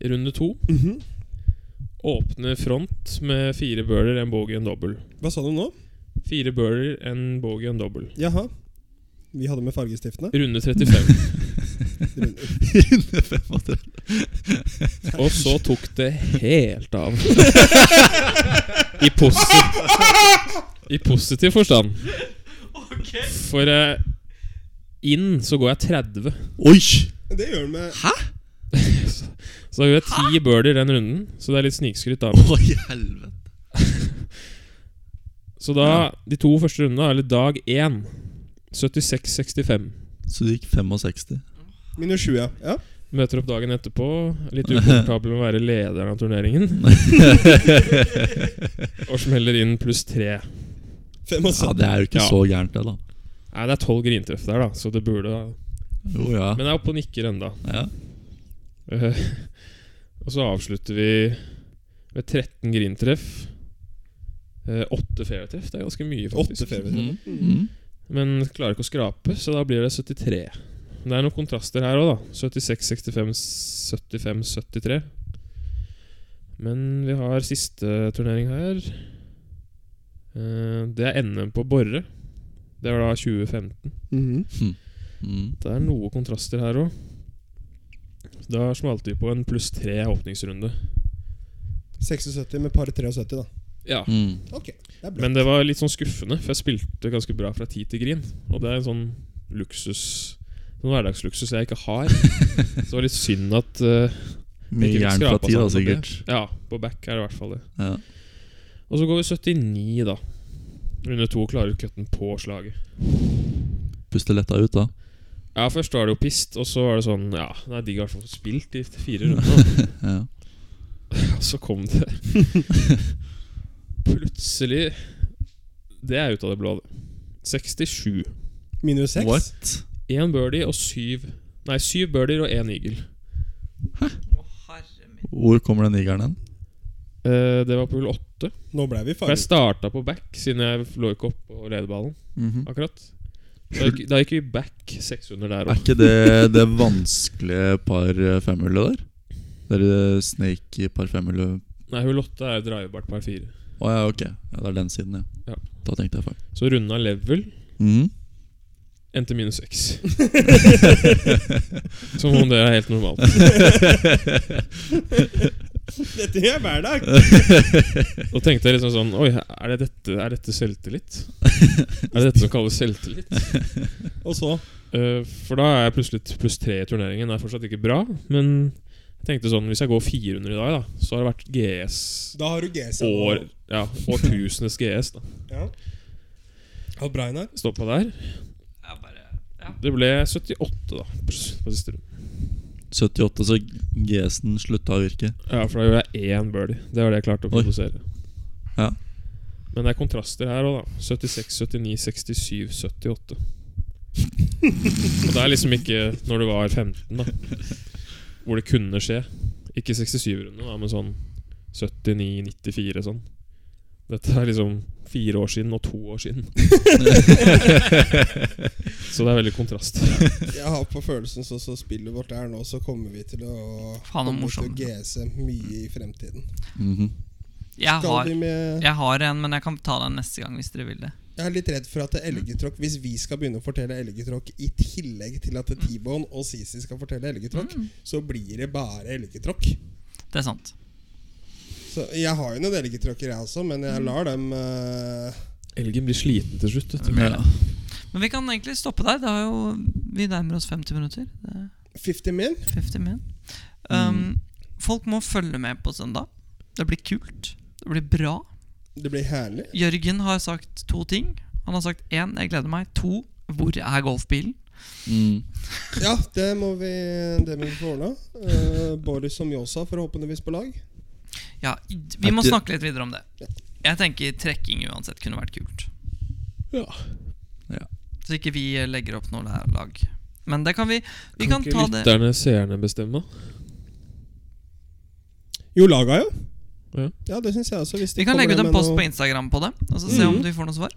Speaker 4: i runde to.
Speaker 1: Mhm.
Speaker 4: Åpne front med fire birder, en bogey, en dobbel.
Speaker 1: Hva sa du nå?
Speaker 4: Fire birder, en bogey, en dobbel.
Speaker 1: Jaha. Vi hadde med fargestiftene.
Speaker 4: Runde 35.
Speaker 3: Runde 35.
Speaker 4: Og så tok det helt av. I, posi I positiv forstand.
Speaker 2: Ok.
Speaker 4: For eh, inn så går jeg 30.
Speaker 3: Oi!
Speaker 1: Det gjør du med
Speaker 4: Så da gjør jeg ti birdier den runden, så det er litt snikskryt. da
Speaker 3: Å, i helvete.
Speaker 4: Så da, de to første rundene, eller dag én 76-65.
Speaker 3: Så du gikk 65.
Speaker 1: minus 7, ja. ja.
Speaker 4: Møter opp dagen etterpå. Litt ukomfortabel med å være lederen av turneringen. Og smeller inn pluss tre.
Speaker 1: 75.
Speaker 3: Ja, det er jo ikke
Speaker 4: Ja.
Speaker 3: så gærent, det, da.
Speaker 4: Nei, det er tolv grintreff der, da, så det burde
Speaker 3: Jo, ja.
Speaker 4: Men jeg er oppe og nikker ennå.
Speaker 3: ja.
Speaker 4: Eh, Og så avslutter vi med 13 grintreff. Eh, Åtte fairway-treff. Det er ganske mye, faktisk.
Speaker 1: Åtte fairway.
Speaker 4: Mhm.
Speaker 3: Mm. Mm.
Speaker 4: Men klarer ikke å skrape, så da blir det 73. Men det er noen kontraster her òg, da. 76, 65, 75, 73. Men vi har siste turnering her. Eh, Det er NM på Borre. Det var da 2015.
Speaker 1: Mhm.
Speaker 3: Mm.
Speaker 4: Det er noe kontraster her òg. Da smalt vi på en pluss tre åpningsrunde.
Speaker 1: 76 med par 73, da.
Speaker 4: Ja.
Speaker 3: Mm.
Speaker 1: Ok, det er bra.
Speaker 4: Men det var litt sånn skuffende, for jeg spilte ganske bra fra tid til grin. Og det er en sånn luksus Sånn hverdagsluksus jeg ikke har. Så det var litt synd at eh,
Speaker 3: Mye
Speaker 4: Ikke fikk
Speaker 3: jern fra
Speaker 4: skrapa
Speaker 3: tid, da,
Speaker 4: sammen på det.
Speaker 3: sikkert.
Speaker 4: Ja, på back er det i hvert fall det.
Speaker 3: Ja.
Speaker 4: Og så går vi 79, da. Runde to klarer cutten på slaget.
Speaker 3: Puste letta ut, da.
Speaker 4: Ja, først var det jo pist, og så var det sånn Ja, det er digg i hvert fall å få spilt de fire rundene.
Speaker 3: Ja.
Speaker 4: Og (laughs) så kom det Plutselig Det er ut av det blå, det. 67.
Speaker 1: Minus seks.
Speaker 3: What?
Speaker 4: Én birdie og syv Nei, syv birdier og én eagle.
Speaker 2: Å, herre min.
Speaker 3: Hvor kommer den nigeren hen?
Speaker 4: Eh, det var på hull åtte.
Speaker 1: Nå ble vi
Speaker 4: For jeg
Speaker 1: farget.
Speaker 4: starta på back, siden jeg lå ikke oppe og ledet ballen
Speaker 3: Mhm.
Speaker 4: akkurat. Da gikk, da gikk vi back 600 der
Speaker 3: Er
Speaker 4: òg.
Speaker 3: ikke det det vanskelige par femhullet der? Det er det snake i par femhullet
Speaker 4: Nei, hull åtte er drivebart par fire.
Speaker 3: Å ja, ok. Ja, det er den siden, ja.
Speaker 4: Ja.
Speaker 3: Da tenkte jeg feil.
Speaker 4: Så runda level
Speaker 3: Mhm.
Speaker 4: endte minus seks. Som om det er helt normalt.
Speaker 1: Dette gjør jeg hver dag.
Speaker 4: Og tenkte jeg liksom sånn Oi, er, det dette, er dette selvtillit? Er det dette som kalles selvtillit?
Speaker 1: Og så
Speaker 4: Eh, for da er jeg plutselig pluss tre i turneringen. Det er fortsatt ikke bra, men jeg tenkte sånn Hvis jeg går 400 i dag, da, så har det vært GS
Speaker 1: Da har du GC.
Speaker 4: år, ja, årtusenes GS. da
Speaker 1: Ja. Og Brainar.
Speaker 4: Stoppa der.
Speaker 2: Jeg bare Ja.
Speaker 4: Det ble 78 da på siste runde.
Speaker 3: 78, så GS-en slutta å virke.
Speaker 4: Ja, for da gjorde jeg én birdie. Det var det jeg klarte å
Speaker 3: Oi.
Speaker 4: produsere.
Speaker 3: Ja.
Speaker 4: Men det er kontraster her òg, da. 76, 79, 67, 78. Og det er liksom ikke når du var 15, da. Hvor det kunne skje. Ikke 67-runde, da, men sånn 79, 94, sånn. Dette er liksom fire år siden og to år siden. Så det er veldig kontrast.
Speaker 1: Jeg har på følelsen sånn som spillet vårt er nå, så kommer vi til å
Speaker 2: Faen, hvor
Speaker 1: komme til å
Speaker 2: morsomt.
Speaker 1: GC mye i fremtiden.
Speaker 3: Mhm.
Speaker 2: Jeg
Speaker 1: Skal
Speaker 2: har,
Speaker 1: vi med
Speaker 2: jeg har en, men jeg kan ta den neste gang hvis dere vil det.
Speaker 1: Jeg er litt redd for at elgetråkk Hvis vi skal begynne å fortelle elgetråkk i tillegg til
Speaker 2: Mm.
Speaker 1: at T-Bone og Sisi skal fortelle elgetråkk, så blir det bare elgetråkk.
Speaker 2: Det er sant.
Speaker 1: Så jeg har jo noen elgetråkker, jeg også, men
Speaker 2: Mm.
Speaker 1: jeg lar dem eh,
Speaker 4: Elgen blir sliten til slutt. Vet du.
Speaker 3: Ja.
Speaker 2: Men vi kan egentlig stoppe der. Det er jo, vi nærmer oss 50 minutter. Det er
Speaker 1: 50 min.
Speaker 2: 50 min. Um,
Speaker 4: Mm.
Speaker 2: Folk må følge med på søndag. Det blir kult. Det blir bra.
Speaker 1: Det blir herlig.
Speaker 2: Jørgen har sagt to ting. Han har sagt én, jeg gleder meg. To, hvor er golfbilen?
Speaker 3: Mm.
Speaker 1: Ja, det må vi, det må vi få ordna. Eh, Boris og Mjåsa forhåpentligvis på lag.
Speaker 2: Ja, vi må
Speaker 3: Er ikke-
Speaker 2: snakke litt videre om det. Jeg tenker trekking uansett kunne vært kult.
Speaker 4: Ja.
Speaker 3: Ja.
Speaker 2: Så ikke vi legger opp noe la- lag. Men det kan vi Vi
Speaker 4: Kan
Speaker 2: kan,
Speaker 4: ikke
Speaker 2: ta det
Speaker 4: lytterne, seerne bestemme?
Speaker 1: Jo, laga jo.
Speaker 4: Ja.
Speaker 1: Ja, det syns jeg også. Hvis
Speaker 2: Vi kan legge ut en post på
Speaker 1: inn
Speaker 2: Instagram på det, og så se
Speaker 4: Mm.
Speaker 2: om vi får noe svar.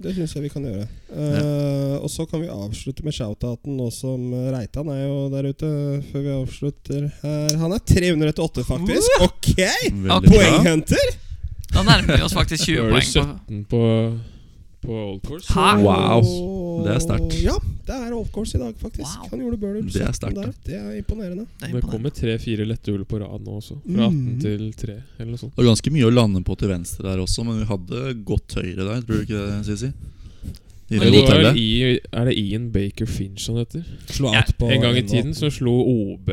Speaker 1: Det syns jeg vi kan gjøre. Eh, Og så kan vi avslutte med shoutouten nå som eh, Reitan er jo der ute, før vi avslutter her. Han er 308, faktisk. Ok!
Speaker 3: Veldig bra.
Speaker 1: Poenghunter!
Speaker 2: Da nærmer vi oss faktisk 20
Speaker 4: (laughs) Nå er
Speaker 2: poeng. På.
Speaker 4: det 17 på, på Old Course.
Speaker 2: Hæ?
Speaker 3: Wow.
Speaker 1: Og-
Speaker 3: Det er sterkt.
Speaker 1: Ja, det er old course i dag, faktisk.
Speaker 2: Wow.
Speaker 1: Han gjorde burder.
Speaker 3: Det er sterkt,
Speaker 1: der. Det er imponerende.
Speaker 2: Det er
Speaker 4: Det
Speaker 2: imponerende.
Speaker 4: kommer tre-fire lette hull på rad nå også. Fra 18 til 3, eller noe
Speaker 3: Det
Speaker 4: sånt.
Speaker 3: var ganske mye å lande på til venstre der også, men vi hadde gått høyre der, tror du ikke det, Sisi? I det
Speaker 4: Men det var
Speaker 3: hotellet.
Speaker 4: I, er det Ian Baker Finch han heter?
Speaker 1: Slå
Speaker 2: Ja,
Speaker 1: på
Speaker 4: en gang i
Speaker 1: NO18.
Speaker 4: tiden så slo OB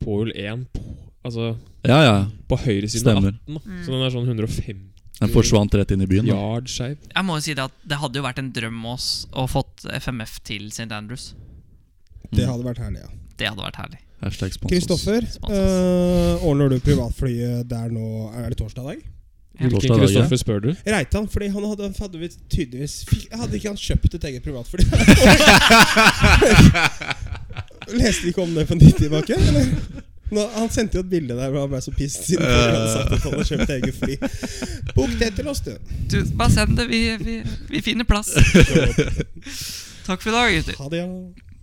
Speaker 4: på hull 1 på, altså,
Speaker 3: Ja, ja.
Speaker 4: på høyre siden av
Speaker 3: Stemmer.
Speaker 4: 18. Da. Så den er sånn 150
Speaker 3: Den forsvant rett inn i byen. Da.
Speaker 4: yard skeiv.
Speaker 2: Jeg må jo si Det at det hadde jo vært en drøm med oss å fått FMF til St. Andrews.
Speaker 3: Mm.
Speaker 1: Det hadde vært herlig, ja.
Speaker 2: Det hadde vært herlig.
Speaker 3: Hashtag spons oss.
Speaker 1: Kristoffer,
Speaker 2: Spons oss.
Speaker 1: eh, ordner du privatflyet der nå Er det torsdag dag?
Speaker 4: Hvilken
Speaker 3: Torsdag dag, ja.
Speaker 4: Kristoffer spør du?
Speaker 1: Reitan, fordi han hadde, hadde vi tydeligvis fikk, Hadde ikke han kjøpt et eget privatfly? Leste vi ikke om det for en tid tilbake? Eller? Nå, han sendte jo et bilde der hvor han ble så pissed siden han hadde sagt at han hadde kjøpt eget fly. Bok det til oss, du.
Speaker 2: Du,
Speaker 4: (laughs)
Speaker 2: bare send det. Vi, vi, vi finner plass. Takk for i dag, gutter.
Speaker 1: Ha det. Ja.